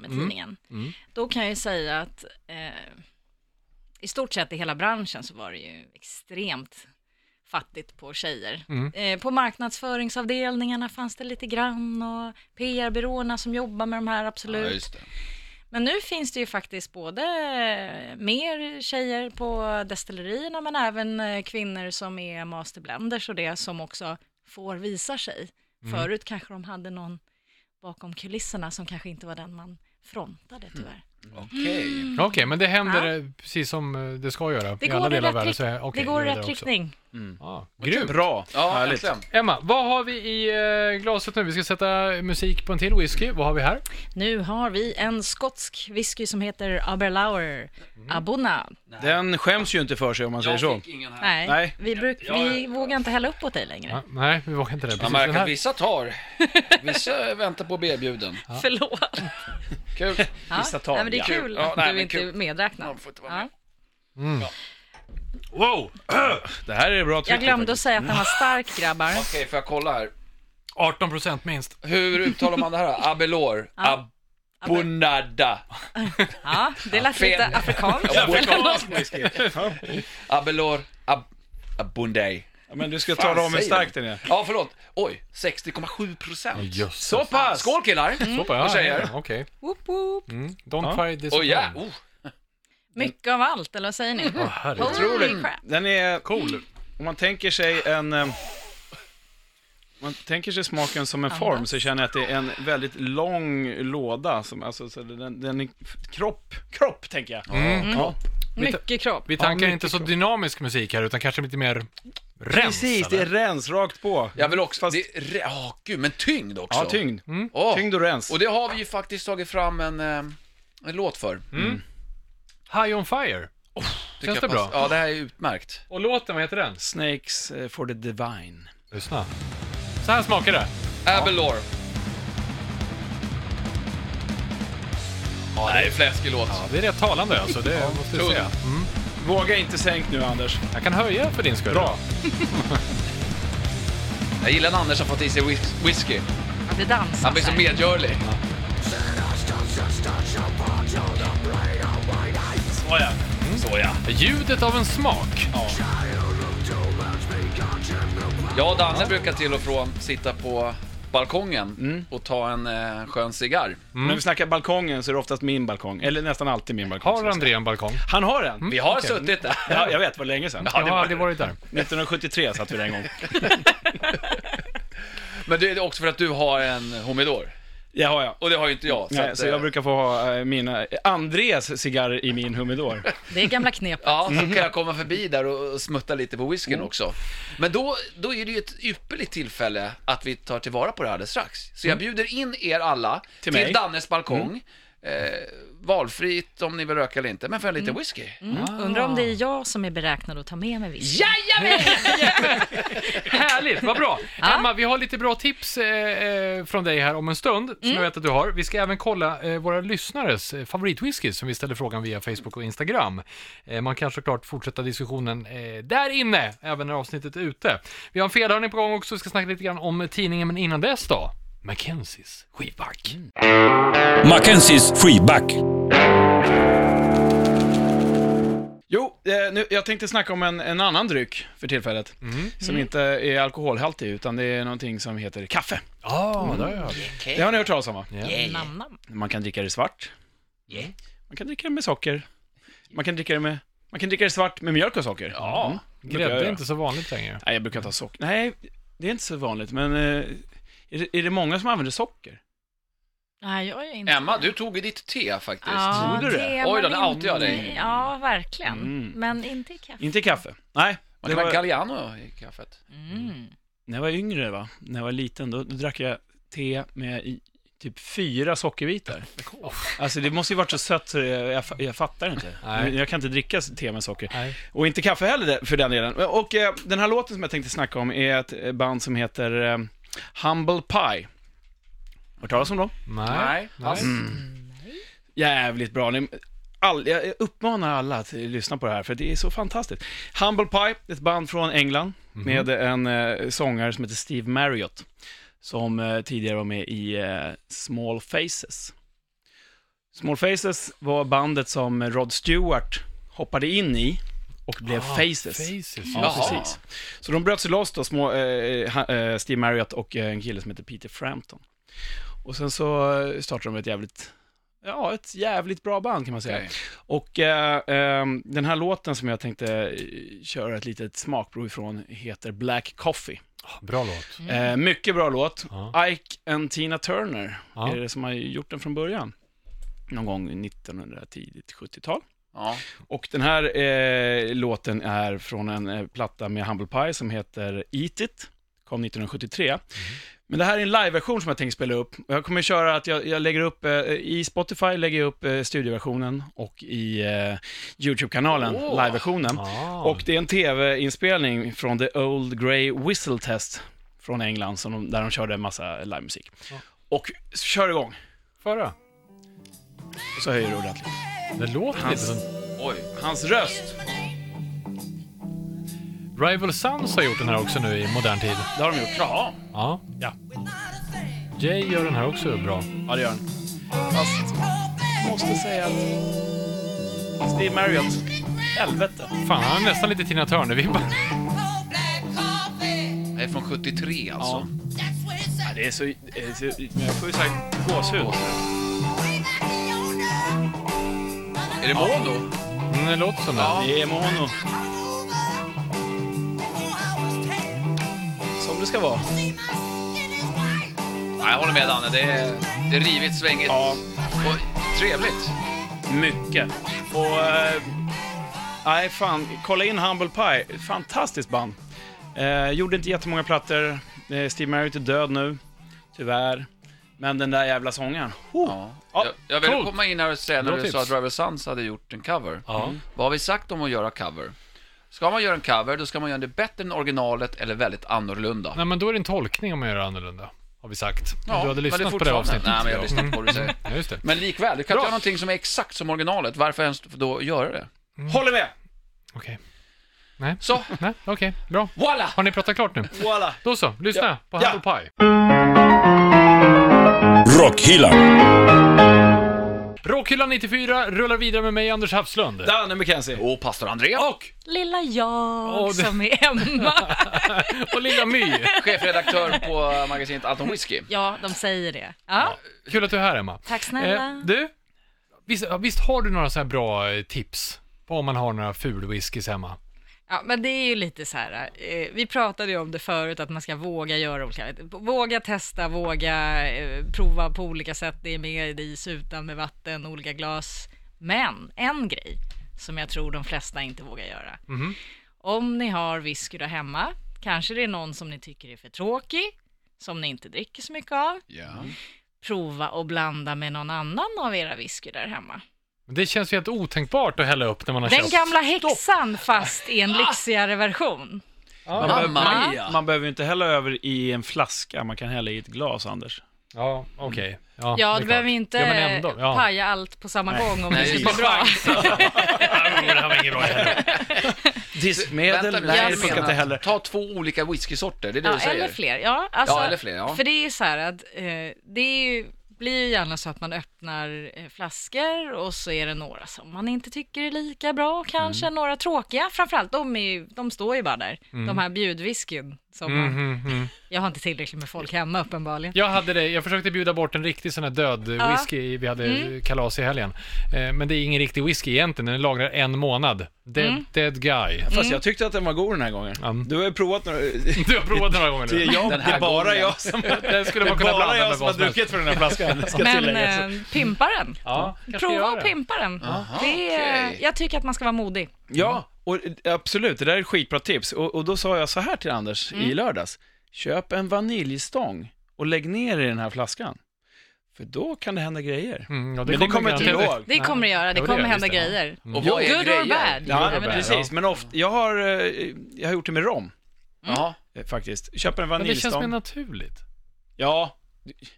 E: med tidningen,
B: Mm.
E: då kan jag ju säga att eh, i stort sett i hela branschen så var det ju extremt fattigt på tjejer.
B: Mm.
E: Eh, på marknadsföringsavdelningarna fanns det lite grann och PR-byråerna som jobbar med de här,
C: Ja,
E: absolut.
C: just det.
E: Men nu finns det ju faktiskt både eh, mer tjejer på destillerierna men även eh, kvinnor som är masterblenders och det som också får visa sig.
B: Mm.
E: Förut kanske de hade någon bakom kulisserna som kanske inte var den man frontade
B: Mm.
E: tyvärr.
C: Okej.
B: Okej, men det händer eh, precis som eh, det ska göra
E: Det
B: i
E: går
B: alla
E: i
B: delar av
E: rätt,
B: världen.
E: rikt-
B: Så är, okej,
E: det går
B: nu
E: i
B: är
E: rätt
B: också.
E: riktning.
B: Ja, grymt.
D: Bra.
C: Ja,
D: Härligt.
C: äntligen.
B: Emma, vad har vi i eh, glaset nu? Vi ska sätta musik på en till whisky. Vad har vi här?
E: Nu har vi en skotsk whisky som heter Aberlour
B: Mm.
E: Abona.
D: Den skäms ju inte för sig om man säger
C: Jag
D: så.
C: fick ingen här.
E: Nej,
D: Nej.
E: vi, bruk- vi vågar inte hälla upp åt dig längre.
B: Ja, nej, vi vågar inte det. Precis, den
C: Man märker
B: här.
C: att vissa tar, vissa väntar på att bli erbjuden.
E: Förlåt.
C: [LAUGHS] Kul.
E: Ja.
D: Vissa tar,
E: Nej, men det är
D: ja.
E: kul
C: Ja,
E: att
C: nej,
E: du
C: men
E: inte är
C: kul.
E: medräknad.
C: Man får inte vara med.
D: Wow! [CLEARS THROAT] Det här är bra tryck.
E: Jag glömde att säga att den var stark grabbar.
C: Okej, får jag kolla här?
B: 18 procent minst.
E: Mm.
C: Hur uttalar man det här? Abelor?
E: Ja.
C: Abonada.
E: Ja, det lät
C: Fel.
E: lite afrikanskt.
C: Abelor. Ab Abunday.
D: Ja, Men du ska tala om hur
C: säger
D: stark den är.
C: Ja, förlåt. Oj, 60,7 procent.
D: Så pass! Mm.
C: Skål killar!
B: Ja,
C: Vad säger
B: ja,
C: jag?
B: Okej. Mm.
E: Woop, woop.
C: Mm.
B: Don't
D: Ja.
B: try this
C: Oj, ja.
B: alone.
C: Oh,
E: Mycket av allt, eller vad säger ni?
B: Herregud.
E: Holy crap.
D: Den är... Cool. Om man tänker sig en... eh, Om man tänker sig smaken som en form så känner jag att det är en väldigt lång låda. Som, alltså, så den, den är kropp, kropp tänker jag.
C: Mm.
D: Ja.
E: Mycket kropp.
B: Vi tankar
D: mycket
B: inte så dynamisk musik här, utan kanske lite mer rens.
D: Precis, det
B: eller?
D: är rens rakt på.
C: jag vill också...
D: Fast-
C: Det är, re- ja, gud, men tyngd också.
D: Ja, tyngd.
C: Åh,
D: Tyngd och rens.
C: Och det har vi ju faktiskt tagit fram en, eh, en låt för.
B: High on fire. Oh,
C: Tycker
B: Känns
C: jag
B: det bra?
C: pass- Ja, det här är utmärkt.
B: Och låten, vad heter den?
D: Snakes eh, for the divine.
B: Lyssna. Så här smakar det.
C: Abelor. Ja, det är en fläskig låt.
B: Ja, det är rätt talande alltså, det måste jag
C: tung.
B: säga. Mm.
D: Våga inte sänk nu Anders.
B: Jag kan höja för din skull.
D: Bra.
C: Jag gillar när Anders har fått i sig whis- whisky.
E: Det dansas
C: Han blir så
E: här.
C: medgörlig.
D: Såja. Såja.
B: Ljudet av en smak.
C: Jag och Danne brukar till och från sitta på balkongen och ta en eh, skön cigarr.
D: När vi snackar balkongen så är det oftast min balkong. Eller nästan alltid min balkong.
B: Har Mm. André en balkong?
D: Han har en.
C: Vi har suttit där. [LAUGHS]
D: Ja, jag vet, var länge sedan.
B: jag
D: [LAUGHS]
B: har aldrig varit där.
D: 1973 satt vi där en gång.
C: Men det är också för att du har en Homidor.
D: Ja, ja.
C: Och det har ju inte jag.
D: Nej,
C: att,
D: så jag
C: eh,
D: brukar få ha eh, mina, eh, Andres cigarrer i min humidor.
E: Det är gamla knep.
C: Ja,
D: Mm.
C: så kan jag komma förbi där och och smutta lite på whiskyn också. Men då, då är det ju ett ypperligt tillfälle att vi tar tillvara på det här alldeles strax. Så jag bjuder in er alla till,
D: Mm. mig. Mm.
C: Dannes balkong. Eh, valfritt om ni vill röka eller inte, men för en liten whisky.
E: Mm. Undrar om det är jag som är beräknad att ta med mig whisky.
C: Jajamän!
B: Härligt, vad bra!
E: Ja.
B: Emma, vi har lite bra tips eh, eh, från dig här om en stund,
D: Mm.
B: som jag vet att du har. Vi ska även kolla eh, våra lyssnares eh, favoritwhisky som vi ställer frågan via Facebook och Instagram. Eh, man kan såklart fortsätta diskussionen eh, där inne, även när avsnittet är ute. Vi har en felhörning på gång också, vi ska snacka lite grann om tidningen, men innan dess då? Mackenzies skivback.
D: Mm.
A: Mackenzies freeback.
D: Jo, eh, nu, jag tänkte snacka om en, en annan dryck för tillfället. Som inte är alkoholhaltig, utan det är någonting som heter kaffe.
B: Ja, det har jag hört.
D: Det har ni hört talas om va?
E: Namnam.
D: Man kan dricka det svart.
C: Yeah.
D: Man kan dricka det med socker. Man kan dricka det med... Man kan dricka det svart med mjölk och socker. Ja. Mm. brukar jag
B: Grädde är
D: göra.
B: inte så vanligt längre.
D: Nej, jag brukar ta socker. Nej, det är inte så vanligt, men... eh, Är det, är det många som använder socker?
E: Nej, jag är inte...
C: Emma, du tog ju ditt te faktiskt.
E: Ja,
D: Gjorde du det?
E: är man
C: Oj då, nu
E: inte
C: outar jag dig.
E: i. Ja, verkligen.
D: Mm.
E: Men inte i kaffe.
D: Inte i kaffe. Nej.
C: Man
D: det
C: kan ha
D: var-
C: Galliano i kaffet.
E: Mm.
D: När jag var yngre, va? när jag var liten, då, då drack jag te med i, typ fyra sockerbitar. Alltså det måste ju varit så sött så jag, jag, fa- jag fattar inte.
B: Nej.
D: Jag kan inte dricka te med socker.
B: Nej.
D: Och inte kaffe heller där- för den delen. Och eh, den här låten som jag tänkte snacka om är ett eh, band som heter eh, Humble Pie. Hört talas om dem?
B: Nej.
C: Pass.
D: Jävligt bra. Ni- All, jag uppmanar alla att lyssna på det här, för det är så fantastiskt. Humble Pie, ett band från England, med en eh, sångare som heter Steve Marriott, som eh, tidigare var med i eh, Small Faces. Small Faces var bandet som Rod Stewart hoppade in i och blev
B: Ah,
D: Faces.
B: Faces.
D: Ja,
C: Jaha.
D: precis. Så de bröt sig loss då, små, eh, ha- eh, Steve Marriott och eh, en kille som heter Peter Frampton. Och sen så eh, startade de ett jävligt, ja, ett jävligt bra band kan man säga.
C: Okej.
D: Och eh, ehm, den här låten som jag tänkte eh, köra ett litet smakprov ifrån heter Black Coffee.
B: Bra låt.
D: Eh, mycket bra låt.
B: Ja.
D: Ike and Tina Turner
B: Ja.
D: är det som har gjort den från början. Någon gång 1900, tidigt 70-tal.
C: Ja.
D: Och den här eh, låten är från en eh, platta med Humble Pie som heter Eat It, kom 1973. Men det här är en liveversion som jag tänkte spela upp. Och Jag kommer köra att jag, jag lägger upp, eh, i Spotify lägger jag upp eh, studioversionen och i eh, YouTube-kanalen
C: Åh.
D: liveversionen.
B: Ah.
D: Och det är en tv-inspelning från The Old Grey Whistle Test från England, som de, där de körde en massa livemusik. Och s- kör igång,
B: Förra.
D: och så höjer du ordentligt.
B: Det låter lite som...
C: Oj.
D: Hans röst,
B: Rival Sons har gjort den här också nu i modern tid.
D: det har de gjort. Jaha.
B: Ja.
D: Ja.
B: Jay gör den här också bra.
D: Ja, det gör han. Fast, måste säga att Steve Marriott, helvete.
B: Fan, han har nästan lite Tina Turner-vibbar.
C: Det är från 73 alltså.
D: Ja, det är så... det är så- Men jag får ju sagt gåshud.
C: Är det mono?
B: Mm, det låter som det.
D: Det är mono, som det ska vara.
C: Nej, jag håller med Danne. Det är, det är rivigt, svängigt
D: Ja.
C: och trevligt.
D: Mycket. Och... eh, Nej, fan. Kolla in Humble Pie. Fantastiskt band. Eh, gjorde inte jättemånga plattor. Eh, Steve Marriott är död nu, tyvärr. Men den där jävla sången. Oh.
C: Ja.
D: Ja,
C: Jag, jag ville
B: coolt.
C: komma in här och säga när
B: Bra
C: du
B: tips.
C: sa att Driver Sons hade gjort en cover. Mm.
B: Ja.
C: Vad har vi sagt om att göra cover? Ska man göra en cover, då ska man göra det bättre än originalet eller väldigt annorlunda.
B: Nej, men då är det en tolkning om man gör annorlunda. Har vi sagt.
C: Ja,
B: du hade
C: men
B: lyssnat på det
C: fortfarande-
B: avsnittet.
C: Nej, men jag har lyssnat på det du säger.
B: [LAUGHS] Ja, just det.
C: Men likväl, du kan inte göra någonting som är exakt som originalet. Varför ens då göra det?
D: Håller med!
B: Okej. Nej,
C: Så,
B: nej, okej, bra. [LAUGHS]
C: voila!
B: Har ni pratat klart nu?
D: Voilà!
B: Då så, lyssna
D: Ja.
B: på
D: Ja.
B: Humble Pie.
A: Rockhyllan.
B: Rockhyllan 94 rullar vidare med mig, Anders Hafslund.
D: Danne McKenzie.
C: Och pastor André.
B: Och,
E: Lilla jag
B: Åh, det-
E: som är Emma.
B: och lilla My.
C: Chefredaktör på magasinet Allt om whisky.
E: ja, de säger det. Ja,
B: Kul att du är här, Emma.
E: tack snälla.
B: Eh, du, visst, visst har du några så här bra eh, tips på om man har några fulwhiskys hemma?
E: Ja, men det är ju lite så här, eh, vi pratade ju om det förut, att man ska våga göra olika, våga testa, våga eh, prova på olika sätt, det är med is, utan med vatten, olika glas. Men en grej som jag tror de flesta inte vågar göra.
B: Mhm.
E: Om ni har whisky där hemma, kanske det är någon som ni tycker är för tråkig, som ni inte dricker så mycket av,
C: Ja.
E: prova och blanda med någon annan av era whisky där hemma.
B: Men Det känns ju helt otänkbart att hälla upp när man har
E: Den
B: köpt.
E: gamla häxan fast i en lyxigare version.
D: Man,
C: Mamma
D: behöver-
C: mia.
D: man behöver ju inte hälla över i en flaska, man kan hälla i ett glas, Anders.
B: Ja, okej. Ja, det är
E: Ja, du
B: klart.
E: behöver ju inte
B: Ja, men ändå. Ja.
E: paja allt på samma gång om det
C: Nej,
E: skulle
C: just
E: bli bra.
B: Nej, det här var ingen bra idé.
D: Diskmedel,
C: Vänta,
D: nej
C: jag
D: det funkar
C: menar,
D: inte heller.
C: Ta två olika whiskysorter, det är det du
E: Ja,
C: säger?
E: eller fler. Ja, alltså,
C: Ja, eller fler, ja.
E: För det är ju så här att eh, det är ju, blir ju gärna så att man öppnar eh, flaskor och så är det några som man inte tycker är lika bra kanske, några tråkiga. Framförallt de, är, ju- de står ju bara där, de här bjudwhiskyn. Som man,
B: [LAUGHS] Mhm, mhm.
E: jag har inte tillräckligt med folk hemma uppenbarligen.
B: Jag hade det, jag försökte bjuda bort en riktig sån här död
E: Ja. Mm.
B: whisky, vi hade kalas i helgen. Eh, Men det är ingen riktig whisky egentligen, den lagrar en månad. Dead,
E: Mm.
B: dead guy.
D: Fast jag tyckte att den var god den här gången.
B: Mm.
D: Du har ju provat några...
B: [LAUGHS] Du har provat den några gånger
D: Det
B: nu. [LAUGHS]
D: är, jag, det
C: Den här
D: är bara
C: gången.
D: jag som,
B: Den skulle
D: det
B: man
D: är
B: kunna
D: bara
B: blanda
D: jag
B: med
D: som har
B: vad som helst.
D: druckit för den här flaskan, det ska
E: Men
D: tilläggas.
E: eh, pimpa den.
B: Ja, kanske
E: Mm. Prova
B: gör
E: och
B: det.
E: pimpa den.
C: Aha,
E: det är,
C: okej.
E: Jag tycker att man ska vara modig.
D: Ja, och eh, absolut, det där är ett skitbra tips. Och, och då sa jag så här till Anders i lördags. Köp en vaniljstång och lägg ner i den här flaskan. För då kan det hända grejer.
B: Mm, ja,
D: Men det kommer
B: jag
D: inte
B: ihåg. Mm.
D: ihåg.
E: Det kommer det göra, det
B: Jo, det
E: kommer
B: gör
E: hända
B: det, visst, ja.
E: grejer.
C: Och vad är
E: Good
C: grejer?
E: or bad.
D: Ja,
E: Ja, men det-
D: precis. Men ofta, jag har, eh, jag har gjort det med rom
C: Jaha.
D: eh, faktiskt. Köper en
B: Men det känns
D: vaniljstång.
B: mer naturligt.
D: Ja,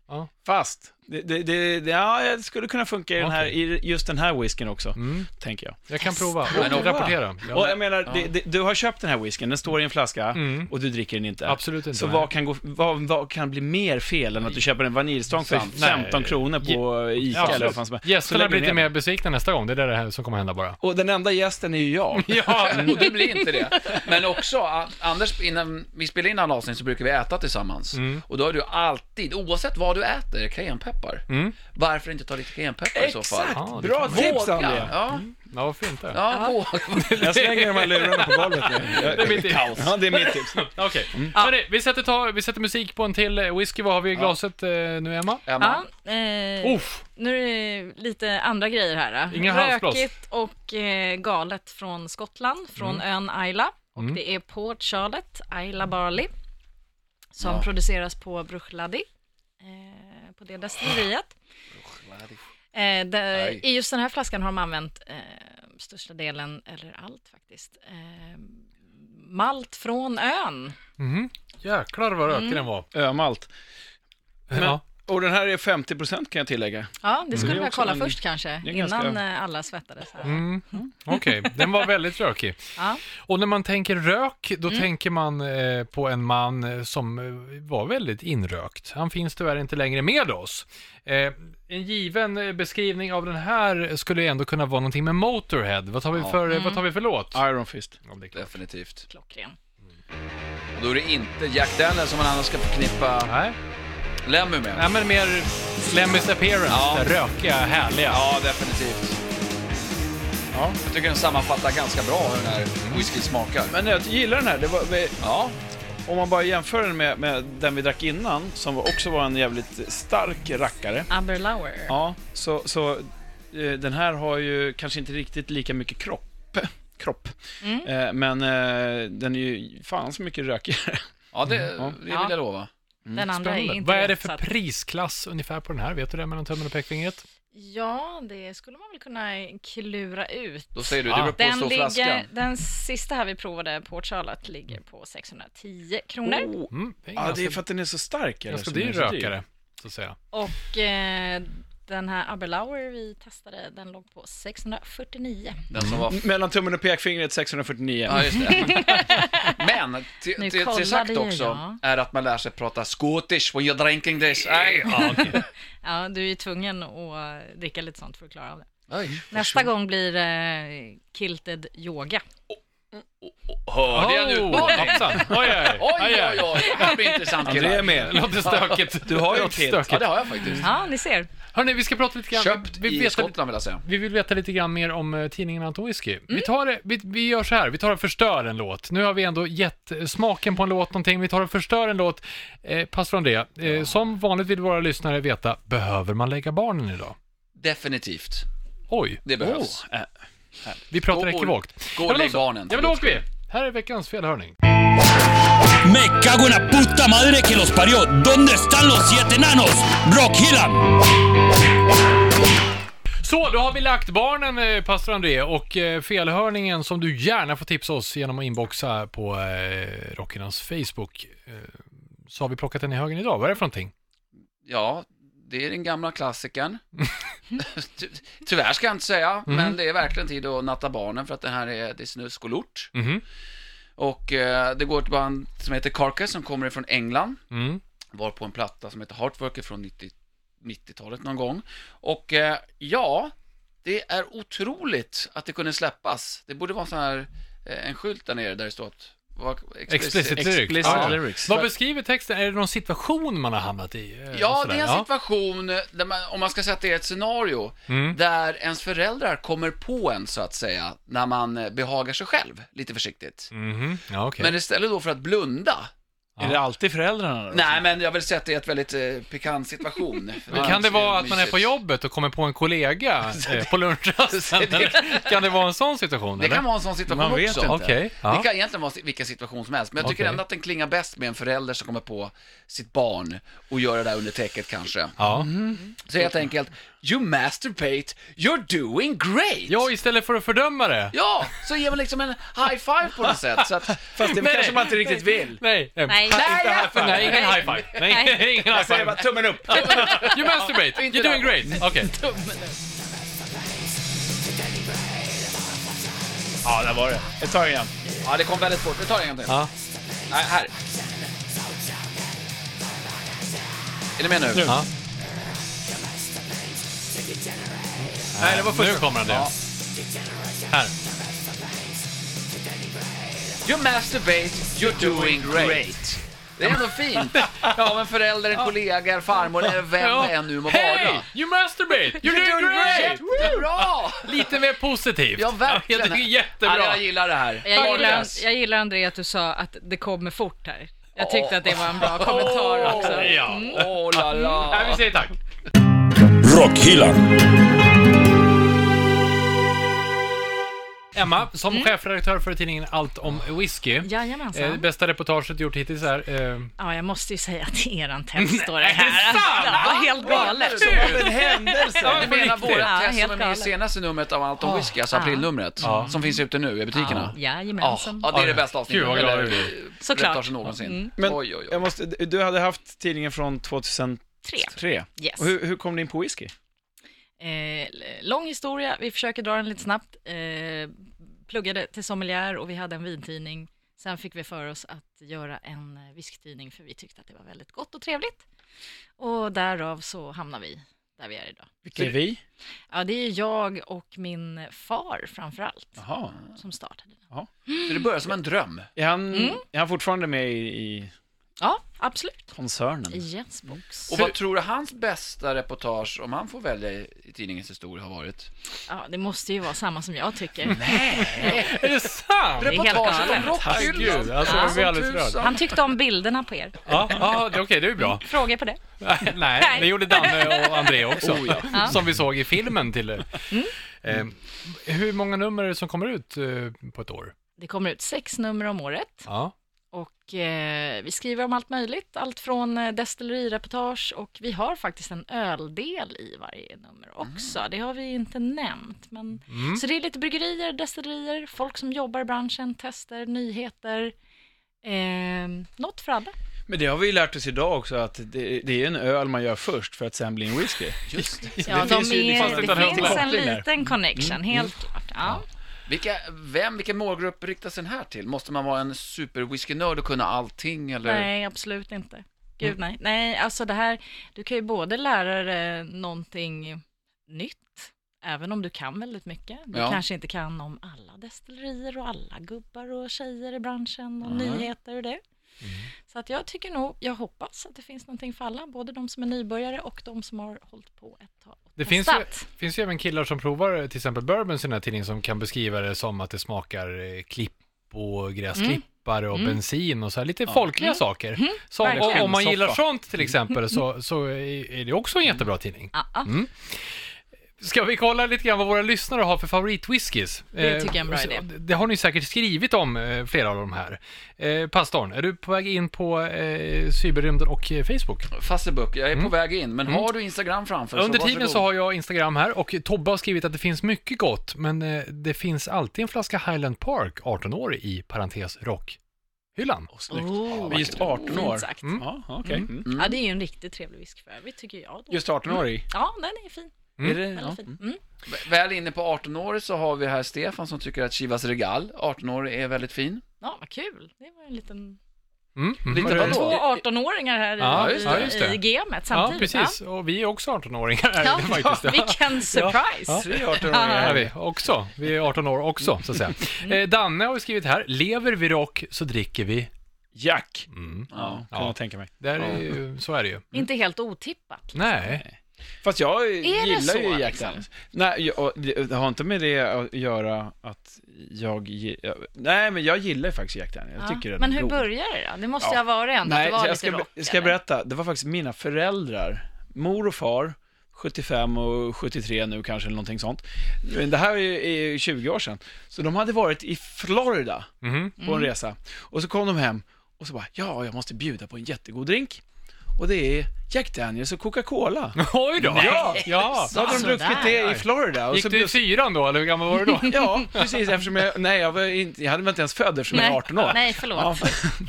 B: Ja.
D: fast det, det, det, det, ja, det skulle kunna funka i, den här, i just den här whiskyn också,
B: Mm.
D: tänker jag.
B: Jag kan prova
C: Men
B: och
C: prova.
B: rapportera.
D: Och
B: Ja,
D: jag menar, det, det, du har köpt den här whiskyn, den står i en flaska
B: Mm.
D: och du dricker den inte.
B: absolut inte.
D: Så
B: nej.
D: vad kan, gå, vad, vad kan bli mer fel än att du köper en vaniljstång för
C: Sant.
D: 15
B: Nej.
D: kronor på ICA
B: Ja,
D: eller vad
B: absolut.
D: fan som helst? Så
B: Gästerna
D: lägger
B: blir
D: du
B: lite
D: ner
B: mer besvikna nästa gång. Det är det här som kommer hända bara.
D: den. Och den enda gästen är ju jag.
B: [LAUGHS] Ja,
E: Mm.
C: Och du blir inte det. Men också, a- Anders, innan vi spelar in alla avsnitt så brukar vi äta tillsammans.
D: Mm.
C: Och då har du alltid, oavsett vad du äter, cayennepeppar.
B: Mm.
C: Varför inte ta lite cayennepeppar i så fall?
B: Ja, det
D: Bra
B: kan
D: tips
C: Ja,
D: André!
C: ja,
E: Mm.
B: ja varför inte?
C: ja, våga.
D: Jag slänger de här lurarna på golvet nu.
B: Det är mitt tips.
D: Ja, det är mitt tips.
B: Okej. Hörni, vi, sätter ta- vi sätter musik på en till eh, whisky. Vad har vi i glaset eh, nu, Emma?
C: Emma,
E: Ja, eh,
C: Oh.
B: Uff.
E: Nu är det lite andra grejer här. eh.
B: Inga halsblås.
E: Rökigt och eh, galet från Skottland, från
C: Mm.
E: ön Isla. Och det är Port Charlotte, Isla Barley, som
C: Ja.
E: produceras på Bruchladi, eh, på det destilleriet. Eh, det,
C: Aj.
E: I just den här flaskan har de använt eh, största delen, eller allt faktiskt, eh, malt från ön.
B: Jäklar vad rökig den var.
D: Ömalt. Men,
B: Ja.
D: Och den här är 50% kan jag tillägga.
E: Ja, det skulle
D: Mm. Det är
E: jag
D: också
E: kolla
D: en-
E: först kanske,
D: det är
E: innan
D: ganska-
E: eh, alla svettades. Här.
B: Mm. Okej, den var väldigt rökig.
E: Ja.
B: Och när man tänker rök, då tänker man eh, på en man eh, som eh, var väldigt inrökt. Han finns tyvärr inte längre med oss. Eh, en given eh, beskrivning av den här skulle ju ändå kunna vara någonting med Motorhead. Vad tar vi
C: Ja.
B: för, eh, vad tar vi för låt?
D: Iron Fist.
B: Ja, det är klart.
C: definitivt.
E: Klockren.
C: Och då är det inte Jack Daniels som man annars ska förknippa
B: Nej.
C: Lemmy med.
B: Nej, men mer Lemmys appearance.
C: Ja.
B: där Rökiga, härliga.
C: Ja, definitivt.
D: Ja.
C: Jag tycker den sammanfattar ganska bra hur den här whiskyn smakar.
D: Men jag gillar den här. Det var,
C: Ja,
D: om man bara jämför den med, med den vi drack innan, som också var en jävligt stark rackare.
E: Aberlour.
D: Ja, så, så eh, den här har ju kanske inte riktigt lika mycket kropp. [LAUGHS] kropp. Eh, men eh, den är ju fan så mycket rökigare.
C: ja det,
B: Mm,
C: det vill
E: Ja.
C: jag lova.
E: Den andra är
B: Spännande.
E: inte
B: Vad är det
E: rätt, så
B: för
E: att-
B: prisklass ungefär på den här? Vet du det mellan tummen och pekfingret?
E: Ja, det skulle man väl kunna klura ut.
C: Då säger du,
B: Ja.
C: det beror på
E: Den,
C: så flaskan.
E: ligger, den sista här vi provade, Port Charlotte, ligger på 610 kronor.
D: Oh.
B: Mm, det är
D: Ja,
B: ganska,
D: det är för att den är så stark. eller?
B: ganska
D: som
B: dyr
D: är så
B: rökare, så att säga.
E: Och eh, den här Aberlour vi testade, den låg på 649.
C: Den som var...
D: Mellan tummen och pekfingret 649.
C: Ja, just
E: [LAUGHS]
C: det. Men, till,
E: Nu
C: till,
E: kollade
C: till sagt
E: jag,
C: också,
E: ja.
C: är att man lär sig prata Scottish when you're drinking this. Aj, ja.
E: Ja, du är ju tvungen att eh, dricka lite sånt för att klara av det.
C: Aj.
E: Nästa gång blir det eh, kilted yoga.
C: Och- Hörde jag nu?
B: Oh, [LAUGHS] hoppsan. Oj, oj,
C: Oj, oj, oj, det här blir intressant
B: Det är
C: killar.
B: med. Låter stökigt. Du har
D: ju ett hit.
C: Ja, det har jag faktiskt.
E: Ja, ni ser.
B: Hörni, vi ska prata lite grann.
C: Köpt
B: vi,
C: i Skottland vill jag säga.
B: vi vill veta lite grann mer om eh, tidningen Anton Whisky.
C: Mm.
B: Vi, tar, det- vi, vi gör så här, vi tar och förstör en låt. Nu har vi ändå gett eh, smaken på en låt någonting. Vi tar och förstör en låt. Eh, pass från det. Eh, som vanligt vill våra lyssnare veta, behöver man lägga barnen idag?
C: Definitivt.
B: Oj,
C: Det behövs.
D: eh,
B: vi pratar
C: Gå och-
B: ekivokt.
C: gå och
B: Ja, men
C: lägg
B: också-
C: barnen.
B: Ja, men då åker vi. Här är veckans felhörning.
A: Me cago en la puta madre que los parió. ¿Dónde están los siete enanos? Rock Hillan.
B: Så, då har vi lagt barnen, eh, pastor André, och eh, felhörningen som du gärna får tipsa oss genom att inboxa på eh, Rockernas Facebook. Eh, så har vi plockat den i högen idag. Vad är det för någonting?
C: Ja, det är den
B: [LAUGHS]
C: gamla klassikern. Ty- Tyvärr ska jag inte säga,
B: Mm.
C: men det är verkligen tid att natta barnen för att det här är, det är snusk och lort.
B: Mhm.
C: Och eh, det går ett band som heter Carcass som kommer från England.
B: Mm.
C: var på en platta som heter Heartworker från 90, 90-talet någon gång. Och eh, ja, det är otroligt att det kunde släppas. Det borde vara en sån här, eh, en skylt där nere där det står att... Vad,
B: Explicit lyrics.
D: explicit
B: Ja.
D: lyrics.
B: Vad beskriver texten? Är det någon situation man har hamnat i? Eh,
C: Ja,
B: sådär?
C: det är en situation, där man, om man ska säga att det är ett scenario,
B: Mm.
C: där ens föräldrar kommer på en så att säga, när man eh, behagar sig själv, lite försiktigt.
B: Mhm. Ja, okej.
C: Men istället då för att blunda,
D: Är det alltid föräldrarna då?
C: nej men jag vill säga att det är ett väldigt eh, pikant situation.
B: Liksom. Men kan det vara att man är på jobbet och kommer på en kollega
C: [LAUGHS]
B: eh, på lunchrasten? Eller [LAUGHS] kan det vara en sån situation?
C: Det
B: eller?
C: kan vara en sån situation
D: Man vet
C: också.
D: inte.
B: Okej.
C: Det
B: Ja.
C: kan egentligen vara vilken situation som helst, men jag tycker
B: Okej.
C: ändå att den klingar bäst med en förälder som kommer på sitt barn och gör det där under täcket kanske.
B: Ja.
C: Så helt enkelt, you masturbate, you're doing great!
B: ja, istället för att fördöma det.
C: Ja, så ger man liksom en high five på något sätt.
B: [LAUGHS]
C: Så att,
D: Fast det
B: Nej.
D: kanske man inte riktigt vill.
B: Nej. eh,
E: Nej.
C: nej, nej,
B: Nej, ingen high five. Nej, [LAUGHS] ingen high
D: Jag säger
B: five.
D: bara tummen upp.
B: You masturbate. You're doing great.
C: Mm.
B: Okej.
D: Ja, där var det. Jag tar igen.
C: Ja, det kom väldigt fort. Vi tar det en gång till.
B: Ja.
C: Nej, här. Är ni med nu?
B: Ja. Nej, det var första. Nu kommer han det. Här.
C: You masturbate, you're doing great. Det är ändå fint. Ja, men förälder, en kollega, en farmor eller vem det än nu må
B: Hey,
C: vara.
B: you masturbate! You're, doing, great!
C: Jättebra!
B: Lite mer positivt.
C: Ja, verkligen.
B: Jag tycker det är
C: Ja,
B: jättebra.
C: jag gillar det här.
E: Jag gillar,
C: Carcass.
E: jag gillar André att du sa att det kommer fort här. Jag
C: Åh.
E: tyckte att det var en bra kommentar också.
B: Ja.
C: Åh la
B: Nej, vi
C: la.
B: säger tack.
A: Rock Hillan.
B: Emma, som chefredaktör för tidningen Allt om whisky. Eh,
E: Jajamensan.
B: bästa reportaget gjort hittills här. Eh,
E: Ja, jag måste ju säga att eran test står det
B: är det
E: här.
B: sant?
E: Det var helt galet.
D: En händelse.
C: Jag menar
B: riktigt.
C: våra
E: Ja,
C: test som
E: helt
C: är med i
E: galet.
C: senaste numret av Allt om whisky, alltså
E: Ja.
C: aprilnumret, som finns ute nu i butikerna. Ja,
E: Jajamensan.
C: ja, det är det bästa avsnittet.
B: Gud, vad glad jag blir.
C: eller,
E: Såklart.
C: reportaget någonsin.
D: Men
C: oj, oj, oj.
D: jag måste, du hade haft tidningen från 2003.
E: Tre. Yes.
D: Och hur, hur kom ni in på whisky?
E: Eh, lång historia, vi försöker dra den lite snabbt. Eh, pluggade till sommelier och vi hade en vintidning. Sen fick vi för oss att göra en eh, whiskytidning för vi tyckte att det var väldigt gott och trevligt. Och därav så hamnar vi där vi är idag.
D: Vilka är vi?
E: Ja, det är jag och min far framför allt
D: Jaha.
E: som startade den.
C: Så det börjar som en dröm.
D: Är han,
C: Mm.
D: är han fortfarande med i, i
E: Ja, absolut.
D: koncernen?
E: Yes, box.
C: Och vad tror du hans bästa reportage, om han får välja i i tidningens historia, har varit?
E: Ja, det måste ju vara samma som jag tycker.
B: är det sant?
E: är helt
C: Reportaget om
E: galet.
B: Herregud,
C: rockhyllan!
B: alltså, jag blir alldeles
C: Tusan.
B: rörd.
E: Han tyckte om bilderna på er.
B: Ja, ja, det- okej, det är ju
E: [LAUGHS]
B: bra.
E: Fråga på det.
B: Nej, det gjorde Danne och André också. [LAUGHS] Som vi såg i filmen till det. Eh, hur många nummer är det som kommer ut eh, på ett år?
E: Det kommer ut sex nummer om året.
B: Ja.
E: Och eh, vi skriver om allt möjligt, allt från eh, destillerireportage och vi har faktiskt en öldel i varje nummer också. Det har vi inte nämnt. Men... Så det är lite bryggerier, destillerier, folk som jobbar i branschen, tester, nyheter. Eh, något för alla.
D: Men det har vi ju lärt oss idag också, att det, det är en öl man gör först för att sen bli en whisky.
C: Just det.
D: [LAUGHS]
E: Ja,
D: det finns
E: de
D: ju liksom
E: är,
D: en
E: det
D: liten
E: finns en
D: koppling där. Mm.
E: liten connection, helt klart. Ja.
C: Vilka, vem, vilken målgrupp riktas den här till? Måste man vara en super whiskynörd och kunna allting eller?
E: Nej, absolut inte. Gud
D: Mm.
E: nej. Nej, alltså det här, du kan ju både lära dig någonting nytt, Även om du kan väldigt mycket. Du
C: Ja.
E: kanske inte kan om alla destillerier och alla gubbar och tjejer i branschen och nyheter och det.
D: Mm.
E: Så att jag tycker nog, jag hoppas att det finns någonting för alla, både de som är nybörjare och de som har hållit på ett tag och
B: Det finns ju,
E: testat.
B: finns ju även killar som provar eh, till exempel bourbons i den här tidningen som kan beskriva det som att det smakar eh, klipp och
E: Mm.
B: gräsklippare och bensin och så här lite folkliga saker. Så om-
E: verkligen. Mm.
B: om man gillar
D: Soffa.
B: sånt till exempel så, så är är det också en jättebra tidning. Mm.
E: Ja, ja.
B: Ska vi kolla lite grann vad våra lyssnare har för favoritwhiskys?
E: Det
B: Eh,
E: tycker jag är en bra
B: så-
E: idé.
B: Det har ni säkert skrivit om, eh, flera av de här. Eh, Pastorn, är du på väg in på eh, cyberrymden och eh, Facebook?
C: Fassebuck, jag är på väg in, men har du Instagram framför
B: Mm. Under tiden
C: varsågod.
B: så har jag Instagram här och Tobbe har skrivit att det finns mycket gott, men eh, det finns alltid en flaska Highland Park, 18 år i parentes rockhyllan.
D: Snyggt.
E: Oh,
D: Vi är just 18 år.
E: Fint sagt.
D: Ja, okej. Mm.
E: Ja, det är ju en riktigt trevlig whiskyfärg, tycker jag. Då.
D: Just 18 år i.
E: Ja, den är fin.
B: Mm.
D: Är det,
E: Väldigt
D: ja.
E: fin. Mm.
C: V- Väl inne på 18 år så har vi här Stefan som tycker att Chivas Regal, 18 år, är väldigt fin.
E: Ja, vad kul. Det var en liten...
B: Mm, mm.
C: Lite
B: Har du-
C: vadå?
E: Två 18-åringar här i,
B: Ja,
C: just det,
E: i-
B: just det.
E: i gamet
B: Ja,
E: samtidigt.
B: precis. Och vi är också 18-åringar.
E: Ja.
B: Är [LAUGHS] det faktiskt.
E: Ja, vilken surprise.
B: Ja.
D: Tre 18 år
B: Det är
D: i.
B: vi också. Vi är 18 år också, så att säga. Eh, Danne har ju skrivit här, lever vi rock så dricker vi.
D: Jack,
B: Mm.
D: ja, kan
B: Ja.
D: jag tänka mig.
B: Där är ju, så är det ju.
E: Inte helt otippat.
B: Nej.
D: Fast jag
E: det
D: gillar
E: så,
D: ju Jack
E: liksom?
D: Daniels. Nej, jag, och det det har inte med det att göra att jag... gi- jag- Nej, men jag gillar ju faktiskt Jack Daniels. Jag tycker
E: Ja.
D: den
E: Men
D: är
E: hur
D: god.
E: börjar det då? Det måste
D: Ja.
E: ju ha varit ändå att
D: Nej,
E: det var
D: jag
E: lite
D: ska,
E: rock,
D: be- ska jag
E: eller?
D: berätta. Det var faktiskt mina föräldrar, mor och far, 75 och 73 nu kanske, eller någonting sånt. Men Det här är ju- är ju 20 år sedan. Så de hade varit i Florida
B: Mhm.
D: på en
E: Mm.
D: resa. Och så kom de hem och så bara, ja, jag måste bjuda på en jättegod drink. Och det är Jack Daniels och Coca-Cola.
B: Oj då!
D: [LAUGHS] Ja.
B: ja.
D: Så hade de
E: Sådär.
D: druckit det i Florida. Och
B: Gick
D: så
B: du i fyran då, eller hur gammal var du då?
D: [LAUGHS] Ja, precis, eftersom jag, nej, jag, var inte, jag hade väl inte ens född eftersom jag är 18 år.
E: Nej, förlåt.
D: Ja. [LAUGHS]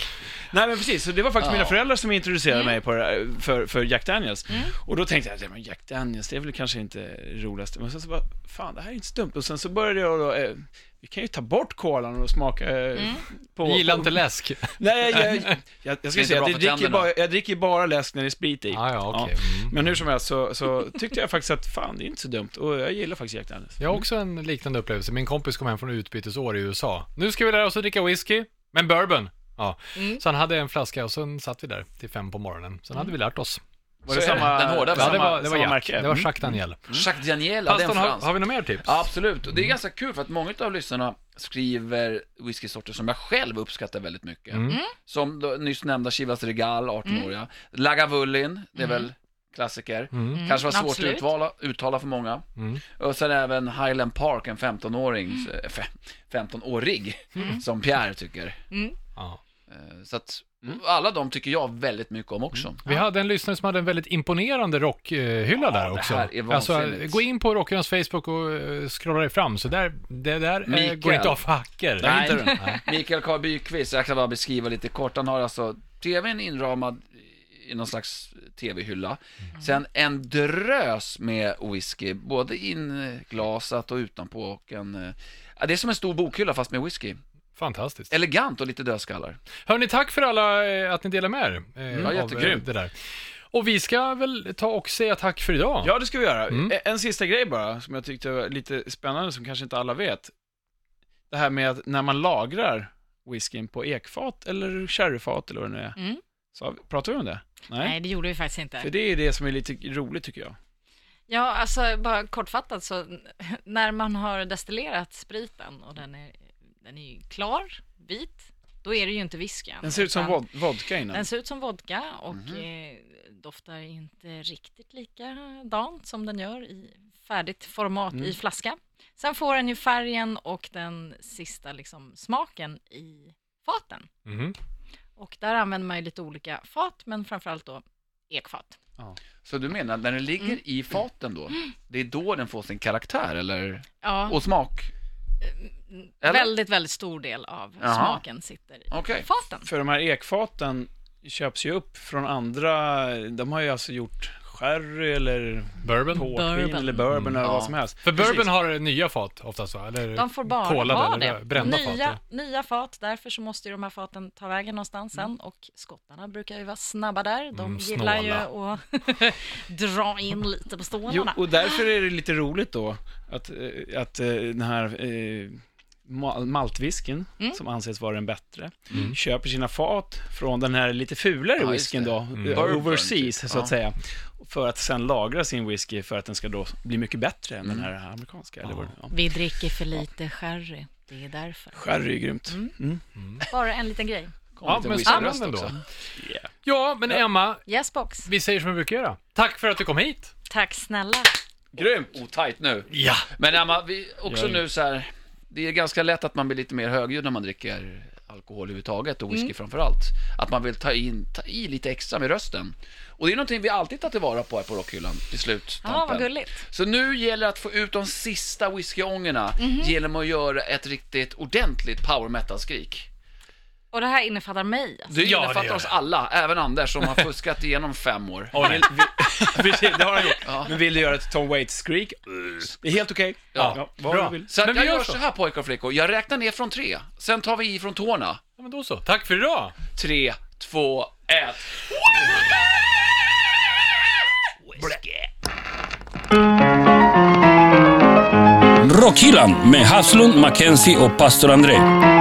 D: Nej men precis, så det var faktiskt mina föräldrar som introducerade mig på det här, för, för Jack Daniels. Och då tänkte jag, "Ja, men Jack Daniels, det är väl kanske inte det roligaste. Men sen så bara, fan det här är inte så dumt. Och sen så började jag då, eh, vi kan ju ta bort kolan och smaka eh, på...
B: Gillar
D: på-
B: inte läsk.
D: Nej, jag, jag, jag, jag
C: Det är
D: ska
C: inte
D: säga
C: bra
D: att
C: för
D: jag dricker,
C: tänderna.
D: bara, jag dricker bara läsk när det är sprit i.
B: Ah, ja, okej. Mm.
D: Men hur som helst så, så tyckte jag faktiskt att, fan det är inte så dumt. Och jag gillar faktiskt Jack Daniels.
B: Jag har också en liknande upplevelse. Min kompis kom hem från utbytesår i USA. Nu ska vi lära oss att dricka whisky, men bourbon. Ja.
C: Mm.
B: Så han hade en flaska och sen satt vi där till fem på morgonen. Sen hade vi lärt oss.
D: Var
C: Så är det. Den hårda,
B: Ja,
C: Samma-
B: det var, det var
D: samma
B: Jack.
D: märke?
B: Det var
D: Mm.
B: Jacques Daniel.
C: Jacques Daniela, det är en
B: Pastorn, har,
C: fransk.
B: har vi några mer tips?
C: Ja, Absolut, och det är ganska kul för att många av lyssnarna skriver whiskysorter som jag själv uppskattar väldigt mycket. Som då, nyss nämnda Chivas Regal, 18-åriga. Lagavulin, det är väl klassiker.
B: Mm.
C: Kanske var svårt
E: Mm, Absolut.
C: att uttala, uttala för många. Och sen även Highland Park, en 15-åring, eh, fe- 15-årig, som Pierre tycker.
B: Ja.
C: Eh, Så att alla de tycker jag väldigt mycket om också.
B: Vi hade en lyssnare som hade en väldigt imponerande rockhylla där också.
C: här är
B: alltså,
C: vansinnigt.
B: gå in på Rockhyllans Facebook och eh, scrolla dig fram, så där, det där eh,
C: Mikael.
B: går inte av för hackor.
C: Nej,
B: inte
C: inte [LAUGHS] Mikael Karl Byqvist, jag kan bara beskriva lite kort. Han har alltså tvn inramad i någon slags tv-hylla. Sen en drös med whisky, både inglasat och utanpå. Och en, eh, ja, det är som en stor bokhylla fast med whisky.
B: Fantastiskt.
C: Elegant och lite dödskallar.
B: Hörni, tack för alla eh, att ni delar med er. eh, av, eh,
C: jättegrymt.
B: Det där. Och vi ska väl ta och säga tack för idag.
D: Ja, det ska vi göra.
B: Mm.
D: E- En sista grej bara, som jag tyckte var lite spännande, som kanske inte alla vet. Det här med att när man lagrar whiskyn på ekfat eller sherryfat eller vad det nu är.
E: Mm.
D: Så har vi- pratar vi om det? Nej.
E: Nej, det gjorde vi faktiskt inte.
D: För det är det som är lite roligt tycker jag.
E: Ja, alltså bara kortfattat så när man har destillerat spriten och den är, den är ju klar, vit, då är det ju inte whisky. än,
D: Den ser ut som
E: utan
D: vod- vodka innan.
E: Den ser ut som vodka och
C: Mhm.
E: eh, doftar inte riktigt likadant som den gör i färdigt format
C: Mm.
E: i flaska. Sen får den ju färgen och den sista liksom, smaken i faten.
B: Mhm.
E: Och där använder man ju lite olika fat, men framförallt då ekfat.
C: Så du menar, när den ligger i faten då, det är då den får sin karaktär eller?
E: Ja,
C: Och smak? Eller?
E: väldigt, väldigt stor del av
C: Jaha.
E: smaken sitter i
C: Okej.
E: faten.
D: För de här ekfaten köps ju upp från andra, de har ju alltså gjort sherry eller
B: Bourbon?
D: portvin
E: Bourbon.
D: eller bourbon eller
C: Ja.
D: vad som helst.
B: Mm. För
C: Precis.
B: bourbon har nya fat oftast va? Eller
E: De får bara
B: Typ kolade
E: ha
B: eller
E: det.
B: brända fat.
E: nya,
B: ja.
E: nya fat, därför så måste ju de här faten ta vägen någonstans sen. Och skottarna brukar ju vara snabba där. De
B: Mm,
E: gillar ju
B: snåla.
E: att [LAUGHS] dra in lite på
D: Jo,
E: stålarna.
D: och därför är det lite roligt då att, eh, att eh, den här eh, ma- maltwhisken,
C: Mm.
D: som anses vara den bättre, köper sina fat från den här lite fulare
C: Ja, just
D: whiskyn
C: det.
D: då, eh,
C: Bourbon,
D: overseas
C: typ.
D: så att
C: Ja.
D: säga, för att sen lagra sin whisky för att den ska då bli mycket bättre än
C: Mm.
D: den här amerikanska. Eller vad det, ja.
E: Vi dricker för lite sherry. Det är därför.
D: Sherry är grymt. Mm.
E: Bara en liten grej.
B: Ja, men spännande ändå.
D: Yeah.
B: Ja, men Emma,
E: Yes box.
B: vi säger som vi brukar göra. Tack för att du kom hit.
E: Tack snälla.
C: Grymt! Otajt nu.
B: Ja.
C: Men Emma, vi, också
D: Ja.
C: nu så här, det är ganska lätt att man blir lite mer högljudd när man dricker alkohol överhuvudtaget och whisky
E: Mm.
C: framför allt. Att man vill ta, in, ta i lite extra med rösten. Och det är någonting vi alltid tar tillvara på här på Rockhyllan till slut.
E: Ja,
C: Tampen.
E: vad gulligt.
C: Så nu gäller det att få ut de sista whiskyångorna
E: Mhm.
C: genom att göra ett riktigt ordentligt power metal-skrik.
E: Och det här innefattar mig. Alltså.
C: Det
B: Ja, det
C: innefattar
B: gör
C: oss
B: det.
C: alla, även
B: [LAUGHS]
C: Anders som har fuskat igenom fem år.
D: Och vill, vill, [LAUGHS] precis, det har han gjort. Men vill du göra ett Tom Waits-skrik? Det är helt okej.
C: Mm. Ja.
D: vad
B: Bra.
D: du vill.
C: Så att
B: Men
C: jag
B: vi gör
C: gör
B: så.
C: så här pojkar och flickor, jag räknar ner från tre, sen tar vi i från tårna.
B: ja, men då så. Tack för idag.
C: Tre, två, ett.
A: Rockhyllan med Haslund, Mackenzie och pastor André.